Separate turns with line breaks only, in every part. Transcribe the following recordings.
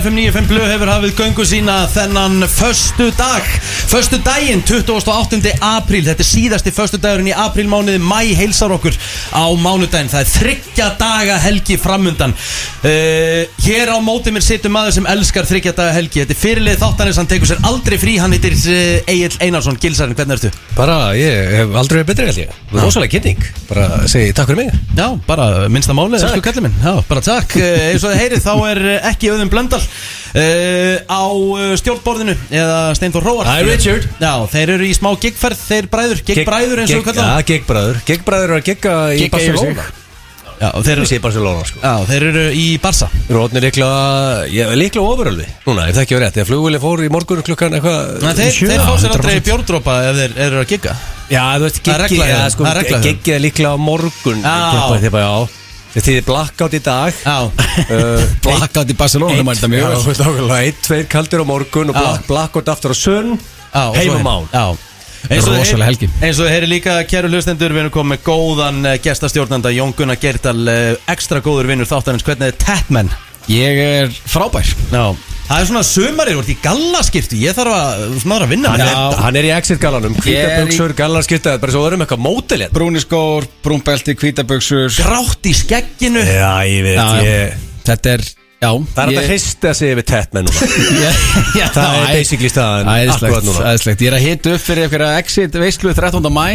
FM95 Blu hefur hafið göngu sína þennan förstu dag Förstu daginn, 28. apríl Þetta er síðasti förstu dagurinn í aprílmánuði Mæ heilsar okkur á mánudaginn Það er þryggja daga helgi framundan uh, Hér á móti mér situr maður sem elskar þryggja daga helgi Þetta er fyrirlið þáttanis, hann tekur sér aldrei frí Hann heitir uh, Egil Einarsson, Gilsarinn, hvernig ertu?
Bara, ég hef aldrei verið betri held ég Rósalega kynning, bara segi takk fyrir mig
Já, bara minnsta máli,
Takk.
elsku kallið minn Já, bara takk, Eh, eins og það heyrið þá er eh, ekki auðum blöndal uh, á eh, stjórnborðinu eða Steintor Róar
Hi, Richard.
Já, þeir eru í smá giggferð, þeir bræður, giggbræður eins og við kallum
Já, giggbræður, giggbræður er að gigga í
Gigga í
Barcelona
þá Já, þeir
Ég
eru,
segi Barcelona sko
já, þeir eru í Barsa
Rótni líklega, ég er líklega ofurölvi Núna, ef það ekki verið rétt, ef flugvili fór í morgun klukkan eitthvað
Nei, þeir,
sjö,
þeir fá sér aldrei
100%.
bjórdropa ef þeir eru að gigga
Já, þú veist,
Það er
giggi,
regla hjá
já,
þeim,
sko,
það er regla hjá þeim.
giggi er líklega á morgun
Já.
Þeir bara, já Þeir þýðir blackout í dag
Já,
Blakkaði í Barcelona mæta mjög
Já,
vel
þú veist, nákvæmlega, einn, tveir kaldir á morgun og
Já.
black- blackout aftur á sunn
já og svo
Heim á
er-
mán
Já Eins og,
Rosaleg helgi.
heyri, eins og þeir eru líka, kæru hlustendur, við erum komið með góðan eh, gestastjórnanda Jón Gunnar Gerdal, eh, ekstra góður vinnur þáttarins, hvernig er Tatman?
Ég er frábær
Já, það er svona sumarið, þú ert í gallaskiptu, ég þarf að, þú snáður að vinna
Hann
með
er,
þetta.
Já.
hann er í exit galanum
Ég
Hvíta
er í-
buksur, galan skiptaði Bara svo erum eitthvað mótil hérna
Brúni skór, brúnbelti, hvítaböksur
Grátt í skegginu,
Já, ég veit
Já,
ég,
Þetta er, já
Það er hægt að
ég-
hrista sig yfir tett með núna
Já, já,
Það er
æ-
basically staðan akkurat
Æðislegt,
núna.
æðislegt Ég er að hita upp fyrir einhverja exit veislu 13. mæ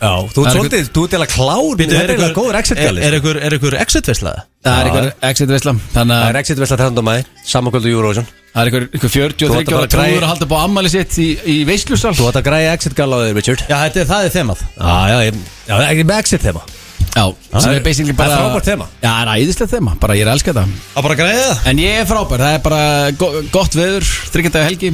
Já, þú ert
Það er
svolítið, þú ert eiginlega klár Býtu, er eiginlega góður exit
er, er
gali
ykkur, er ykkur exit-veslaða?
Það
Já.
er einhver exit veisla Þannig
Það
að
er exit vesla 13. mæði, samankvöldu Eurovision
það er einhver, einhver 40 og
Þú átt að
30 ára
fara að græja-
trúður að halda upp á ammali sitt í, í veislusal
Þú ert að græja exit gala á þig, Richard
Já, þetta er, það er þemað.
Já, já, ég, já, það er ekki með exit þema
Já, sem
Það
er
er-
basically
það er
bara
frábært þema.
Já, það er æðislegt þema, bara ég er að elska þetta
Að bara græða það?
En ég er frábær, það er bara go gott veður, þryggjandega helgi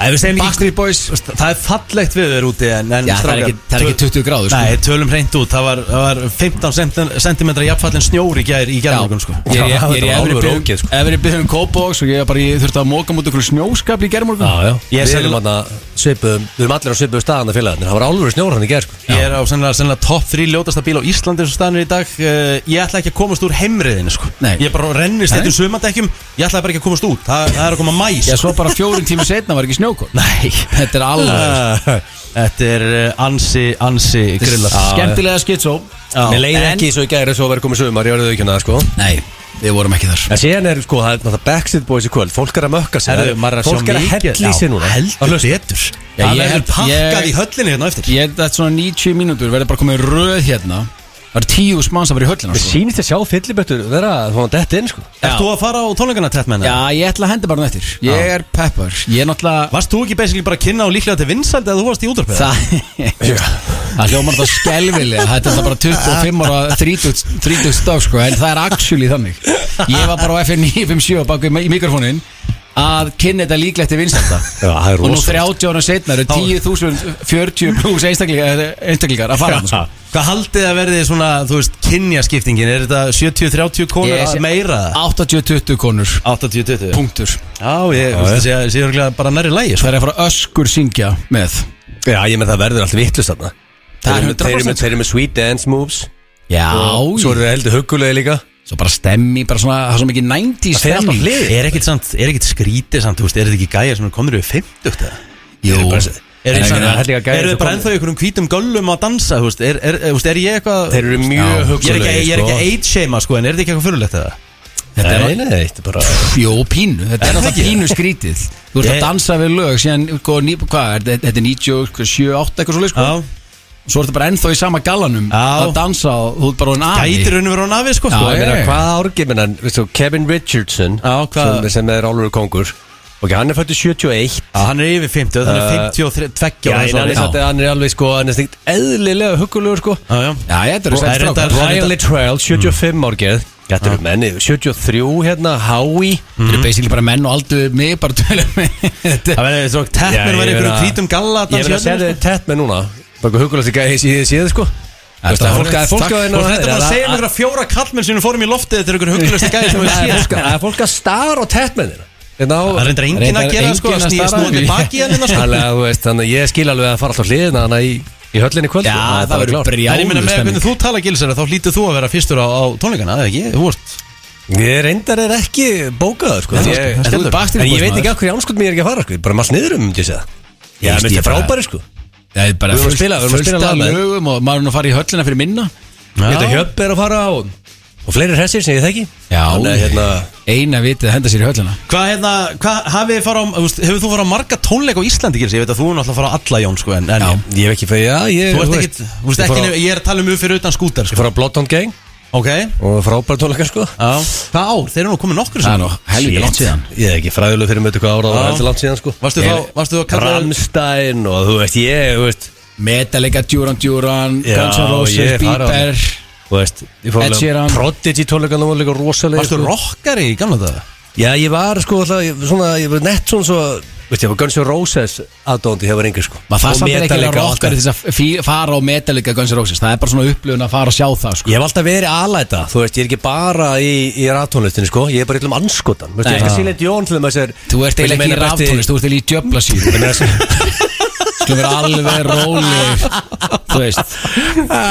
Ef við segjum ekki,
Backstreet Boys
það er fallegt við þau úti en, en
Já, það er
strákar,
ekki, það er ekki
töl-
20 gráður sko.
Nei, tölum hreint út, það var, það var 15 cm jafnfallin snjór í gær í
Já,
gerðmorgun, sko.
ég
Já,
er- ég er í
þetta var
efri
alvöru
byggðum-
ógeð, sko.
efri byggðum Kópavóks um og ég er bara í- þurfti að móka mútið okkur snjóskapli í gerðmorgun
Já, já,
Ég
við
sem-
erum hann að svipuðum Við erum allir á svipuðu staðan að félagarnir Það var álfur snjór hann í gerð sko.
Ég er á sennilega, sennilega top 3 ljótasta bíl á Íslandi sem staðinu í dag Eh, Ég ætla ekki að komast úr heimriðinu sko
Nei.
Ég bara rennist
Nei.
þetta sumandekkjum Ég ætla bara ekki að komast út Það, það er að koma mæ
Já,
sko.
svo bara fjórin tími setna var ekki snjókon
Nei
Þetta er alveg
Þetta er eh, ansi, ansi grilla
Skemmtilega skitsó
Mér leiði ekki svo í gerð Svo verið komið sumar, ég verði ekki hana, sko
Nei, við vorum ekki þar
En síðan er sko, það er náttúrulega Backstreet Boys í kvöld Fólk er að mökka sig
Herðu, maður er að sjá
Fólk er að
mikið-
hella í sig
Já,
núna
Heldur betur
Já,
Það
ég
verður
held-
pakkað
ég-
í höllinni hérna á eftir
Ég held að svona 90 mínútur verður bara komið röð hérna Það eru tíu smanns að vera í höllina
Mér
sko.
sýnist að sjá fyllibettur vera að fóna dett inn sko
Já.
Ert þú að fara á tónleikana tett með
Já, ég ætla að henda bara hann eftir Ég er peppar Ég er náttúrulega
Varst þú ekki basically bara að kynna og líklega til vinsæld eða þú varst í útvarpið?
Það Það hljómar þetta skelvilega Þetta er þetta bara 25 ára 30, 30 staf sko En það er actually þannig Ég var bara á FN957 baku í mikrofónin Að kynna þetta líklegt til vinstanda
Já, það er
Og nú
rosa
30 ára setna eru 10.040 pluss einstaklingar, einstaklingar að fara hann sko.
Hvað haldið að verði svona, þú veist, kynjaskiptingin? Er þetta 70-30 konur
Ég
að
sé-
meira?
80-20 konur
80-20
Punktur
Já, ég
Já,
veist að sé örgulega bara nærri sko. lægi
Það er að fara öskur syngja með
Já, ég menn það verður allt vittlust þarna
Það er
Þeir eru með- þeir eru með-
100%
Þeir eru með sweet dance moves
Já,
Svo eru þeir heldur huggulegi líka
svo bara stemmi Bara svona, það er svo mikið 90
Það fer alltaf
stemmi
hlið
Er ekkit, samt, er ekkit skrítið samt, þú veist, er þetta ekki gæja sem er komnir við 50 eða?
Jú,
Er þetta
Nei, nei, það er
samt-
líka gæjar
eru
sem
þið bara
komnir-
ennþá í einhverjum hvítum göllum að dansa, þú veist, er, er, er, þú veist, er ég eitthvað
Þeir eru
Já.
mjög
Ég er ekki,
huggulegi
ég er ekki að age-shama, sko, en er þetta ekki eitthvað fyrirlegt eða?
þetta er
Nei, nei, þetta er bara
Jó, pínu, þetta er
Er það
alltaf
ekki?
pínu skrítið Þú ert
Ég-
að dansa við lög síðan, sko, ný, hvað, er þetta- þetta er 97, 8 eitthvað svo leið, sko
Já,
Svo ertu bara ennþá í sama gallanum
Já.
að dansa og þú ert bara hún aði
gætir henni verið á nafi, sko
Já,
sko,
Ég
ég
meina,
meina,
Nei.
Hvað árgiminan, veistu, Kevin Richardson
Já, hvað-
sem, sem er álfur kongur Ok, hann er fættur 71
Já, Hann er yfir 50, þannig er 52
Já,
ára
en hann er
þessu ári.
satt- hann er alveg sko, hann er stíkt eðlilega huggulegur sko
Já, já
Já, þetta
Og-
eru sex
Það er
strákar.
reyndar-
Ryan Littrell, 75 árgeð Þetta eru menni, 73 hérna, Howie
Þetta eru basically bara menn og aldur mig bara tölum Þetta
Það verður svo
Já,
teppin
ég
verður
meina-
einhverjum hvítum galla að
Ég verði
dansa
að segja
hérna,
þið tett með núna Bara eitthvað hugulasti gæði sem ég séð sko Þú veist að fólk- það er fólk að
sko.
hérna-
Og þetta bara að segja
að-
einhverja fjóra kallmenn sem fórum í loftið Þetta er einhverjum hugulegsta gæði sem við
Það er
séð
fólk að- það er fólk að stara á tett með þér
Það
Það
reyndar enginn að gera, sko, að snýa- snúa til baki í hennina, sko.
Þannig að þú veist, þannig að ég skil alveg að fara alltaf hliðina Þannig að í, í höllinni í kvöld
Já,
sko.
það
er
verður
klárt.
En ég
brjálu
meina með
stemming
hvernig þú tala gilsar Þá hlýtur þú að vera fyrstur á, á tónleikana, eða ekki? Þú vorst
Ég reyndar er ekki bókaður sko.
Nei,
ég,
sko, það
en,
stendur
þú-
bakstur í
en ég
bókinni,
veit ekki
maður.
af hverju ánskot mér er ekki að fara sko. Ég er Bara maður sniður um, ég sé það Já, mér finnst það frábæri sko Ég Við
veist, ég bara- Það er bara
vorum að spila- við vorum að spila
fullt af
lag með þeim.
lögum og maður er nú að fara í höllina fyrir minna
veit að Hjöpp er að fara og, og fleiri hressir sem ég þekki
Já,
Þannig að, hérna,
eina vitið að henda sér í höllina
Hvað hérna, hvað hafið þið fara á, þú veist, hefur þú fara á marga tónleika á Íslandi, Gils? Ég veit að þú er náttúrulega að fara á alla, Jón, sko, en, en
Já.
Ég hef ekki fyrir, já, ég
Þú ert ekkit, þú veist,
Ég
ekki,
fór á-
ég er að tala um upp fyrir utan skúter,
Ég
sko.
fór á Bloodhound Gang
Ok, já.
og frábæri tónleikar sko
Hvað ár? Þeir eru nú komið nokkur
Það er nú helviti
Shit.
langt síðan
Ég er ekki fræðileg fyrir mötu hvað ára það var
Já.
heldur langt síðan sko
Varstu
Ég-
þá- varstu þá að kalla-
Rammstein og þú veist ég, þú veist
Metallica, Duran Duran,
Já,
Guns N' Roses,
ég fara á
Bieber
það. Þú veist, ég fór
Ed
alveg
Sheeran.
Prodigy tónleikan og líka rosalega
Varstu rockari í gamla daga?
Já, ég var sko alltaf, ég, svona, ég var nett svona svo Veist, ég var Guns N' Roses aðdóndi, ég var yngri sko
Maður það
Og
samt er ekki
Metallica
að
og allt
rockari
það.
til þess að fí- fara á Metallica Guns N' Roses Það er bara svona upplifun að fara og sjá það sko.
Ég hef alltaf verið aðlæta, þú veist, ég er ekki bara í, í ráttónlistinu sko Ég er bara yllum anskotan, veist, ég
Nei.
skal síla eitt jón til þeim að þessar
Þú ert eiginlega ekki í ráftónlist, þú ert eiginlega í djöflasýru Skulum vera alveg rólegir Þú veist
ráftónlist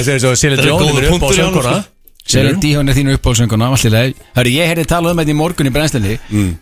Síla eitt
Þetta er
jón,
góður
ég er upp á
punktur hjá honum,
sönguna
sko.
Selja díhónu þínu uppáhaldsönguna Hörru, ég heyrði talað um þetta í morgun í brennslinni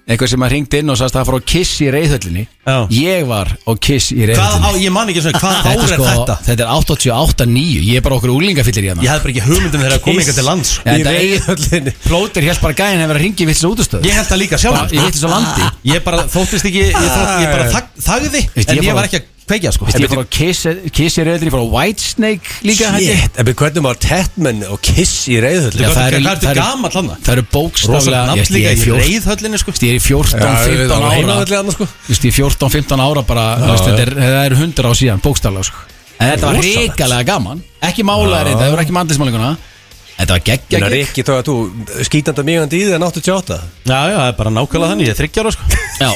Eitthvað sem að ringd inn og sagðist að það fór á kiss í reyðhöllinni
Mm. Já.
Ég var á kiss í
Hvað á,
reyðhöllinni
ég man ekki svona, hvað ár
Þetta
er
er sko,
þetta?
þetta er 88.9 Ég er bara okkur úlingafillir í hérna
Ég hef bara ekki hugmyndum þegar að koma ykkur til lands sko.
Já,
Í
þetta er-
reyðhöllinni
Plóter hélst bara gæðin að vera að ringi í vitsins útustöð
Ég held það líka sjálf
Bara- ég hitti svo landi.
Ég bara þóttist ekki, ég, þótt, ég bara þag, þagði
Veist, ég
En ég
bara-
var ekki að kveikja sko
Ég fór á Kiss, Kiss í reyðhöllinni, ég fór á Whitesnake líka held ég.
Shit, en við hvernig var Tatman og Kiss í reyðhöllinni
Já,
Hvað
það eru-
ertu
það eru-
gamall hann það?
Það eru
Rósa
bókstálega
nafn líka
Ég er
í
14,
reyðhöllinni sko
ég er í 14-15 ára
annars sko
Þú veist, ég er 14-15 ára bara, þú veist, þetta er, það eru 100 á síðan, bókstálega, sko. En þetta var
Rosalegt.
reikalega gaman, ekki málaðið, þetta voru ekki mandlismálinguna, þetta var geggja
En að
gegg.
Rikki tók að þú skítandi og mjögandi í því en 88
Já, já, það er bara nákvæmlega þannig, ég er þryggjar sko
Já,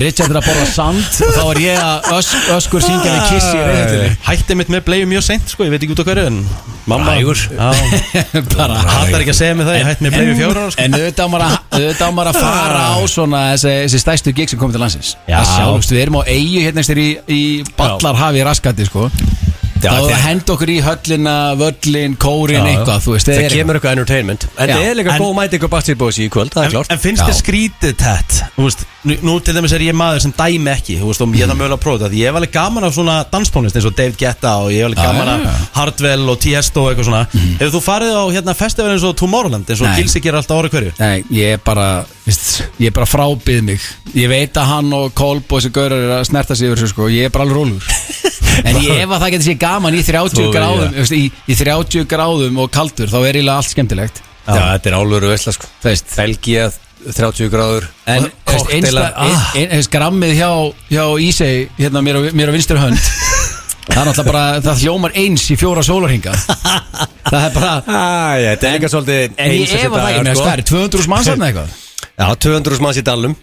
Richard er að borða sand og þá er ég að ösk, öskur syngja með kiss í reyðhundinni.
Hætti mitt með bleið mjög seint sko, ég veit ekki út á hverju en Mamma
Frægur.
Já,
bara,
hattar ekki að segja mig það, ég hætti með bleið fjóra ára sko
En auðvitað á maður að- auðvitað á maður að fara
Ah.
á svona þessi, þessi stæstu gig sem komið til landsins
Já.
Það sjálfst, við erum á eigu hérna einstir í, í Ballarhafi í raskati sko
Já,
Það var
þeir-
að henda okkur í höllina, völlin, kórin, eitthvað Þú veist,
Það
þeir eru
kemur eitthvað entertainment En
Já.
það er líka
En-
góð mæti ykkur Bastard Boys í kvöld, það er
En,
klárt
en finnst
Já.
þið skrítið tett Þú veist, nú, nú til dæmis er ég maður sem dæmi ekki Þú veist, og ég
Mm.
er það mögulega að prófa þetta Því Ég hef alveg gaman af svona danstónlist eins og David Guetta og ég hef alveg
Já,
gaman
já,
af
já. Mhm.
Hardwell og Tiesto og eitthvað svona Hefur þú farið á hérna, festival eins og Tomorrowland eins og
Nei.
Gilsi gerir alltaf ára hverju
Nei, ég er bara, veist, ég er bara frábið mig Ég veit að hann og Kolb og þessi gaurar er að snerta sig yfir þessu sko Ég er bara alveg rólur En ég ef að það getur sér gaman í 30
Þú-
gráðum
já.
veist, í, í 30 gráðum og kaldur þá er eiginlega allt skemmtilegt
Já, þetta er álveru vesla sko
Þú veist
Belgia, 30 gráður
En þú veist, einsta-
ah,
ein- ein- þú veist, grammið hjá, hjá Ísei hérna mér á, mér á vinstri hönd Það er náttúrulega bara, það hljómar eins í fjóra sólarhinga Það er bara,
ah, já, Þetta er líka svolítið
en ég
eins þessi
efa það
dagar,
ekki með
sko.
það er 200 mannsarna eitthvað
Já, 200 manns í dalnum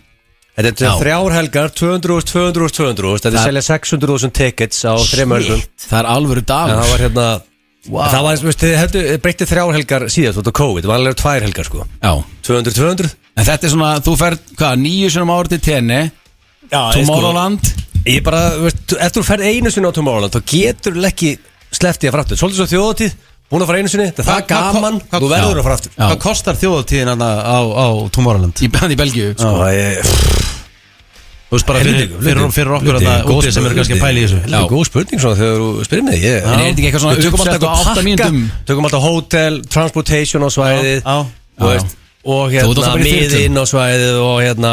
Þetta
Já.
er þrjár helgar, 200, 200, 200 Þetta er
Það-
selja 600.000 tickets á þrejum örgum
Það er alvöru
En það
dagur
var hérna Það var, veist, þið hefðu breyttið þrjár helgar síðast út á COVID, vanlega tvær helgar sko
Já,
200, 200
en þetta er svona, þú ferð, hvað, nýju sinum ári til tenni
Já,
Tomorrowland
Ég bara, veist, ef þú ferð einu sinni á Tomorrowland þá getur þú ekki sleftið að fara aftur Svolítið svo þjóðatíð, búin að fara einu sinni Það er það
Hvað- hvað-
gaman,
hvað-
þú verður að fara aftur
Já.
Hvað kostar þjóðatíðin á, á, á Tomorrowland?
í, hann í Belgíu sko.
Og ég-
Þú veist bara fyrir,
Helviti,
fyrir, fyrir okkur
helviti,
þarna
góð
úti sem eru kannski að pæla í þessu
Helviti, Góð spurning svona þegar þú spyrir mig ég,
En er þetta ekki eitthvað svona
Við tökum
uppsett
alltaf
á átta
pakka,
mínútum?
Tökum alltaf hótel, transportation á svæðið
Já, já.
Þú
Já.
veist Og
ert
hérna
alltaf bara í
miðinn á svæðið Og hérna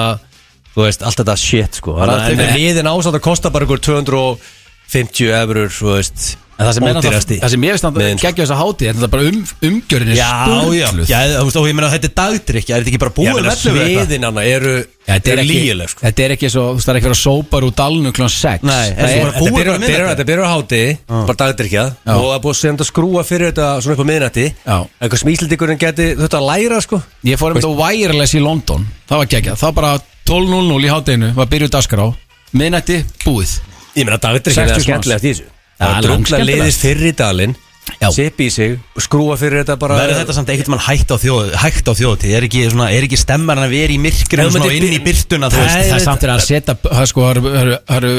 Þú veist, allt þetta shit sko Þannig að-
allt
En
ekki-
miðinn ásamt að kosta bara ykkur 250 eurur Þú veist
En það sem, er
ódýrasti.
náttúrulega- það sem ég veist að
Miðinn, sko.
geggja þess að háti Þetta er bara um, umgjörðin er
Já, já,
stúrluð
já, þú veist, og ég meina þetta er dagdrykja, er þetta ekki bara
Ég
búið
meina
með ellefu eitthvað?
sviðin hana eru
Já, þetta er
eru
ekki,
lygileg sko
þetta er ekki svo, þú veist, það er ekki verið að sópar úr dalnum klón 6
Nei,
það
en þú
er,
bara búið
Þetta byrjar-
bara
byrjar-
miðnætti.
þetta byrjar á háti, bara dagdrykja
Já.
og það er búið að senda skrúa fyrir þetta svona upp á miðnætti
Já.
eitthvað sem Íslandingurinn geti þetta að læra sko
Ég fór um þetta wireless í London Það var geggjað, það var bara 12.00 í hátteginu Var byrjuð dagskrá, miðnætti, búið
Ég meina dagdrykkin er
60
skemmtilegast í þessu
Það
Það
er
er drungla
langskemmtilegast.
leiðis fyrir dalinn
Já.
Sipp í sig, skrúa fyrir þetta bara
Verður þetta samt einhvern mann hægt á þjóð Hægt á þjóðtíð, er ekki, svona, er ekki stemmar að vera í myrkrinu
Ef þú
svona, og
myndir
inn í
byr-
byrtuna þú
Það,
veist
það er samt er að setja Það er sko, það eru- það eru- það eru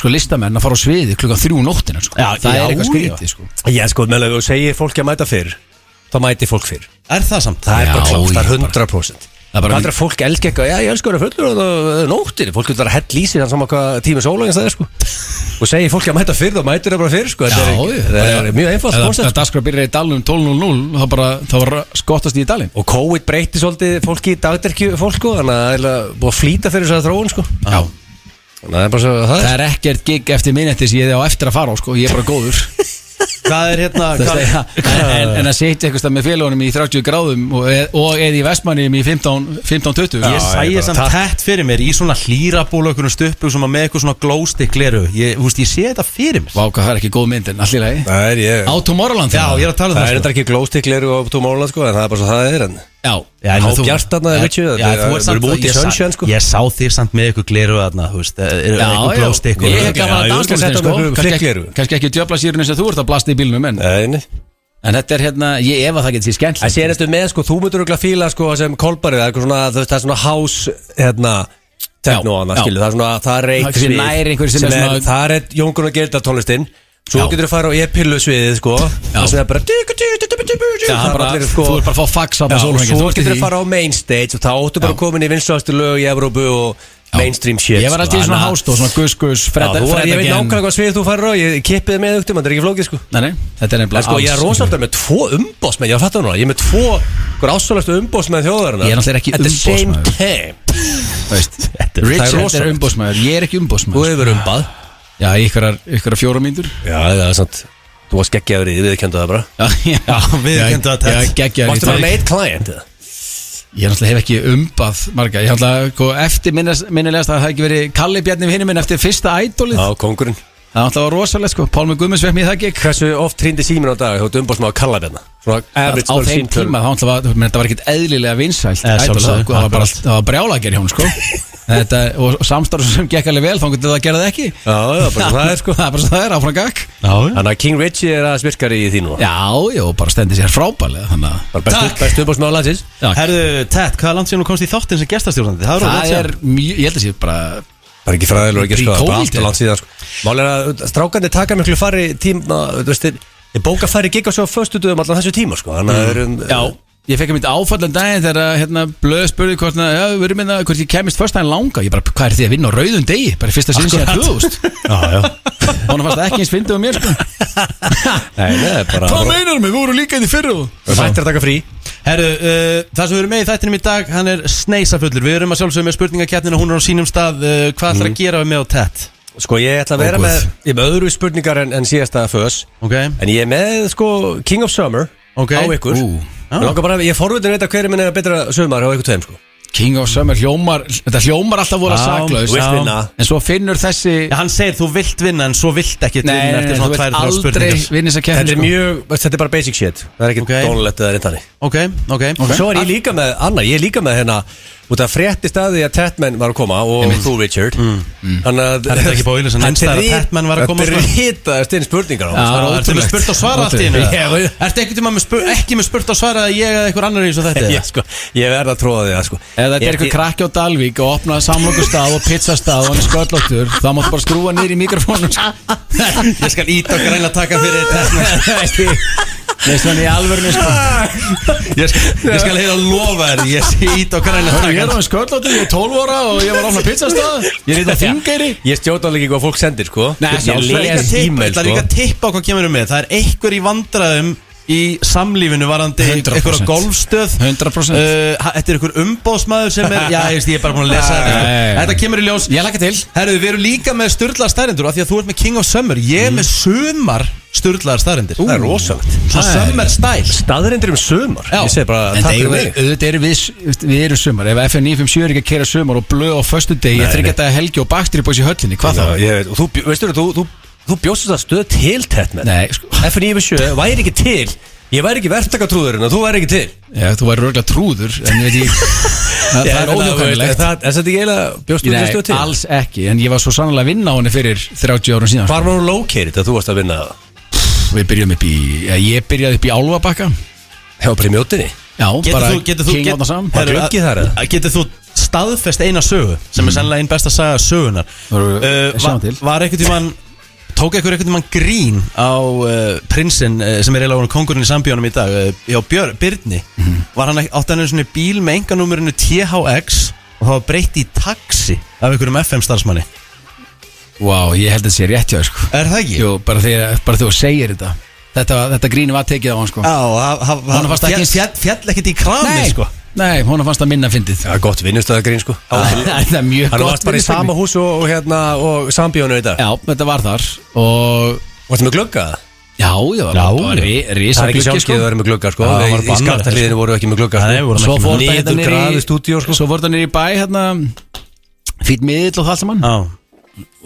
sko listamenn að fara á sviði klukkan 3 nóttina sko.
Já,
Það
já,
er eitthvað
já.
skrítið sko.
Já sko, meðlega þú segir fólki að mæta fyrr þá mæti fólk fyrr
Er það samt?
það er bara
Já,
klátt, það er
ég bara-
100%
Það er bara-
hvað er að fólk elska eitthvað, já ég elska að vera fullur og það það er nóttir, fólk vil vera hell í sig þannig saman hvað tími sólægins það er sko og segir fólki að mæta fyrr, þá mætir það bara fyrr sko. þetta er, það er mjög einfalt
Það
koncept sko.
er daskra byrjar í dalnum 12.00 þá bara, þá var skottast í dalin
og COVID breyti svolítið fólki í dagderkju fólk sko, þannig að það er eiginlega búið að flýta fyrir þess að þróun sko.
Já
þannig að það er bara svo það
Það
er
er ekkert gig eftir minnetti sem ég á eftir að fara á sko, ég er bara góður
Hvað er hérna?
Þú veist,
Hvað,
en, en, en að setja eitthvað með félagunum í 30 gráðum og, e- og eða í vestmannum í 15 15-20
ég sæði
bara-
samt tett fyrir mér í svona hlýraból og einhvern stuppu sem að með eitthvað svona glowstick leru ég, þú veist, ég sé þetta fyrir mér
Vá, hvað það er ekki góð mynd en allir lagi
það er ég
Á Tomorrowland
Já, ég er að tala um
það er
það,
þetta ekki glóstikleru og tómólan sko, en það er bara svo það er en
Já,
Já, en
Há
þú-
bjartarna,
Já,
Richie, þetta
já,
er-
þú
við
ert samt-
erum úti í
ég sa-
sunshine, sko.
Ég sá þig samt með ykkur gleru þarna, þú veist, er-
já,
eitthvað
já.
glowstick og-
Ég hef gaman
Já, ég skal
að danslunum
setja
sko.
mig einhverjum
Kannski ekki-
flikkleru.
Kannski ekki djöfla sírun eins og þú ert að blasta í bílnum en,
Nei, nei.
en þetta er hérna, ég ef að það getur sér skemmt
Það sé næstu með sko, þú myndur örugglega fíla sko sem kolbarið, það er eitthvað svona, þú veist, það er svona hás, hérna, techno
Já,
annað,
já.
skilu, það er svona, það er
Það er kannski
reykvið.
nær einhverju sem er svona-
Það er Jón Gunnar Gerdal tónlistinn, svo
Já.
getur þú fara á e-pillu sviðið sko, það sem er bara,
Já,
það
það
er
er bara,
allir
þú
sko,
er bara að fá fax
Já,
á bara
og
sólhengið
svo getur þú fara á main stage og þá áttu bara komin í vinstlastu lög í Evrópu og mainstream shit.
Ég var alltaf í
sko,
svona
þannig að-
hást og svona gus-gus Fredda
Já, þú var, ég veit
gen
nákvæmlega hvað svið þú farir á, ég kippið með auktum, þetta er ekki flókið sko.
Nei, nei, þetta er
En
nefnilega
sko, ég er rosalega með tvo umbósmenn, ég fattu núna, ég er með tvo Hver ásvöldast umbósmenn þjóðarinnar
Ég er náttúrulega ekki
At
umbósmaður.
the same time
veist
það er
Richard er
rosalegt.
umbósmæður, ég er ekki
Þú
umbósmæður
hefur umbað
Já, ykkurar, ykkurar fjóra mínútur
Já, það er sant Þú var skeggjaður í því, við kendu það bara
Já, já,
við kynntum það tætt.
Já, geggja
Vartu bara með eitt client eða?
Ég náttúrulega hef ekki umbað marga Ég náttúrulega, sko, eftir minnilegast að það hafi ekki verið Kalli Bjarni vinnu minn eftir fyrsta ædolið
Já, kongurinn
Það náttúrulega var rosalega, sko, Pálmi Guðmunds vekk mér í það gekk
Hversu oft trýndi símin á dag, þú ert umbósmenn á kallabjarna Svona average
Á
mörg
þeim
símtöl.
tíma, þá náttúrulega, var- menn, þetta var ekkit eðlilega vinsælt
Eh,
ædolið,
sjálfsögðu,
sko, Það var bara,
akkurat.
það var brjálager hjá hún, sko Þetta, og samstarf sem gekk alveg vel, þá getur það að gera það ekki
Já, já, bara svo það er sko
Það er bara svo það er áfram gakk
Já, já.
Þannig að King Richie er aðeins virkari í því núna
Já, já, og bara stendir sér frábælega Þannig að
Bara bestu-
Takk.
Bestu umbósmenn á landsins
Já,
Herðu, Tett, hvað er langt síðan þú komst í þáttinn sem gestastjórnandi? Það er
það
orðið
er
langt síðan.
mjög, ég held að sé bara
Bara ekki fræðilega ekki sko, það
Í
er bara
COVID,
allt og langt síðan sko. Mál er að strákandi taka miklu fari tíma, þú veist, þeir- þeir bóka fari gigga svo á föstu dögum allan þessu tíma sko, þannig að það erum
Já, eh, ég fekk að mynda áfallan daginn þegar að, hérna, blöð spurði hvort, na, já, við erum minna, hvort ég kemist först daginn langa, ég bara, hvað er þið að vinna á rauðum degi bara í fyrsta sinn sem ég hlúðust
Já, já
Hún fannst það ekki eins fyndið á mér sko.
Nei, það er bara
Hvað meinar mig, við vorum líka inn í fyrru
Þættir að taka frí
Herðu, uh, það sem við erum með í þættinum í dag, hann er sneisafullur Við erum að sjálfsögum með spurningakeppnina, hún er á sínum stað uh, Hvað ætlar
Mm.
að gera við mig á Tett?
Sko, ég ætla að vera
Ó, guð.
með Ég er með öðru spurningar en, en síðasta fös
Ok,
En ég er með, sko, King of Summer
Ok.
Á ykkur
Ú.
Mig langar bara, Ég er forvitin að vita hverju minn er betra sumar á ykkur tveim, sko
King of Summer hljómar, þetta hljómar alltaf voru
Já,
saklaus
Þú veist vinna
En svo finnur þessi
Já, hann segir þú vilt vinna en svo vilt ekki
Nei,
vinna
nei,
eftir
nei,
svona
þú
tvær,
veist
þrjá
aldrei
spurningar
vinna sko. þess að
Þetta er
kemna
mjög, þetta er bara basic shit Það er ekki
Ok.
okay. dónulegt eða reyndari
Ok, ok,
Ok.
Svo er ég líka með, Anna, ég er líka með hérna Út af frétti staði að Tatman var að koma Og þú Richard Mm. Þannig að
Það er ekki bóðilis, en neins það er að Tatman var að koma,
Þetta
sko.
er hittaðist inn spurningar á sko.
Já.
Það er Ertu með
var Ah, ótrúlegt.
spurt og svara allt í
Ótrúlegt.
hennu?
Ég veit-
Ertu ekkert um að með spurt, ekki með spurt og svara að ég eða einhver annar eins og þetta?
Ég, sko, ég verð að tróða því að sko
Ef þetta er eitthvað krakki á Dalvík og opnaði samlokustaf og pizzastaf og hann er sköllóttur þá máttu bara skrúa nýri í mikrofónum sko.
Ég skal ít okkar reyna að taka fyrir þetta
Veist hann í alvörinu sko
Ég skal, ég skal heila lofa þér Ég sé ít okkar reyna að
Hörru, Ég
taka
er á sköllóttur, ég er 12 ára og ég var að opna pizzastaf Ég er eitthvað þingari
Ég stjóta alveg ekki hvað fólk sendir sko
Nei,
Ég
sjálfsagt.
Ég
les e-mail
ætla
sko
líka að tippa á hvað kemur um með Það er einhver í vandræðum í samlífinu varandi einhver
100%.
á golfstöð
100%.
Uh, ha- Þetta er einhver umbóðsmaður sem er Já, ég veist, ég er bara búin að
Ah,
lesa þetta
Nei.
Þetta kemur í ljós
Ég laka til
Herðu, við erum líka með styrlaðar staðrindur af því að þú ert með King of Summer Ég er með sumar styrlaðar staðrindir
Mm. Það er rosalegt
Svo summer style
Staðarindir um sumar
Já.
Ég segi bara
En
takk fyrir
eigum við,
mig
auðvitað erum við, við erum sumar Ef FN 957 er ekki að kera sumar og blöð á föstu degi
Nei,
Ég
nei.
þryggja þetta helgi og bakstri bóðs í höllinni, hvað
Já,
þá?
ég veit, og Þú bjó- veistu, þú- þú- þú bjóst þetta stöð til Tetman
Nei, sko,
F957 væri ekki til Ég væri ekki verktakatrúðurinn og þú væri ekki til
já, þú væri röglega trúður En ég veit ég, það, það
Ég
er
meina, þú veist,
óhjókanilegt
Það er þetta ekki eiginlega bjóst þetta
Nei,
stöð til
alls ekki, en ég var svo sannlega að vinna á henni fyrir 30 árum síðan sko.
Hvar var hún located að þú varst að vinna það?
Við byrjum upp í, ja, ég byrjaði upp í Álfabakka
Hefur bara í mjótinni
Já,
Getur
bara
þú, getur þú,
King Átna saman
Var
Herru,
glöggið þar, eða?
að- getur þú
Mm.
staðfest eina sögu sem er sennilega einn besta saga sögunar
Voru-
uh,
sjáum
var,
til.
var einhvern tímann tók eitthvað einhvern mann grín á uh, prinsinn uh, sem er eiginlega orðinn kóngurinn í sambjónum í dag uh, já, Björ, Byrni
Mhm.
var hann átt hann svona bíl með enganúmerinu THX og það var breytt í taxi af einhverjum FM starfsmanni
Vá, ég held að þetta sé rétt hjá þér, sko
Er það ekki?
Jú, bara þegar bara þú segir þetta Þetta, þetta grínu var tekið á hann sko
Já, ha- ha-
Honum
ha-
fannst það
fjall,
ekki-
fjall, fjall ekkert í kramið sko
nei, hún fannst það minna fyndið
Það er gott vinnustöðagrín sko
Það er mjög
Hann varst bara í
vinnustefni.
sama hús og, og hérna og sambjónu í dag
Já, þetta var þar og
Varstu með gluggaða?
já, já,
Já,
það
já.
var ri- risa
Það er ekki
gluggi,
sjálfskeið að vera með glugga sko
Já, það var
Í, í
bannað,
skattaliðinu voru ekki með glugga
Nei, við
sko.
vorum
Svo
ekki
fór
með-
þetta hérna
Niður
niður í
grafið stúdíó, sko.
Svo fór þetta niður í bæ hérna Fýtt miðill og það allt saman
Já,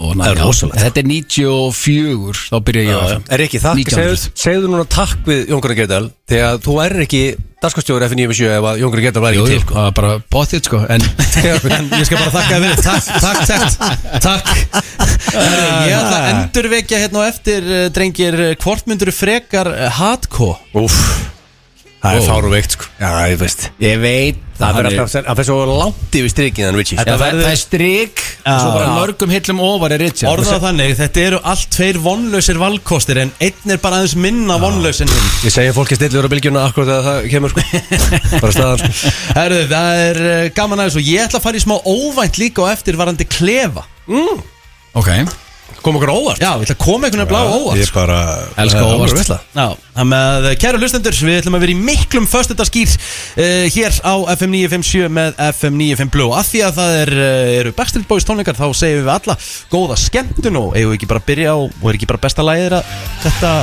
Og ná,
Það er
já,
rosalegt.
Þetta er 94 Þá byrja ég á
Já, já.
FM.
Er ekki þakk,
1900.
segðu, segðu núna takk við Jón Gunnar Gerdal Þegar þú er ekki dagskostjóri F957 ef að Jón Gunnar Gerdal var
Jú,
ekki
jú,
til sko.
það var bara bóttið sko En
en ég skal bara þakka þér fyrir Takk, takk, takk, takk. Herru, Ég ætla að endurvekja hérna og eftir eh, drengir eh, hvort myndur frekar eh, hardcore
Úff, það
Ó.
er fáruveikt sko Já, ég veist
ég veit
Það
hann
verður
er-
alltaf, það fyrir svo langt yfir strikið en Richie
Já,
Þetta
Það
verður-
það er strik Svo bara mörgum hillum ofar er Richard
Orðað þannig, þetta eru allt tveir vonlausir valkostir en einn er bara aðeins minna vonlaus en hinn
Ég segi fólki stillur á bylgjuna akkur þegar það kemur sko Bara staðan sko
Herðu, það er eh, gaman aðeins og ég ætla að fara í smá óvænt líka og eftir varandi klefa
Ok,
Kom okkur óvart
Já, ég ætla að koma einhvern veginn blá óvænt
Ég bara
Elska
Það er
óvart.
alveg veisla.
Já, það með eh, kæru hlustendur, við ætlum að vera í miklum föstudaskýr uh, hér á FM 957 með FM 95 Blue Af því að það er, uh, eru Backstreet Boys tónleikar þá segjum við alla góða skemmtun og eigum við ekki bara að byrja á og er ekki bara besta lagið að þetta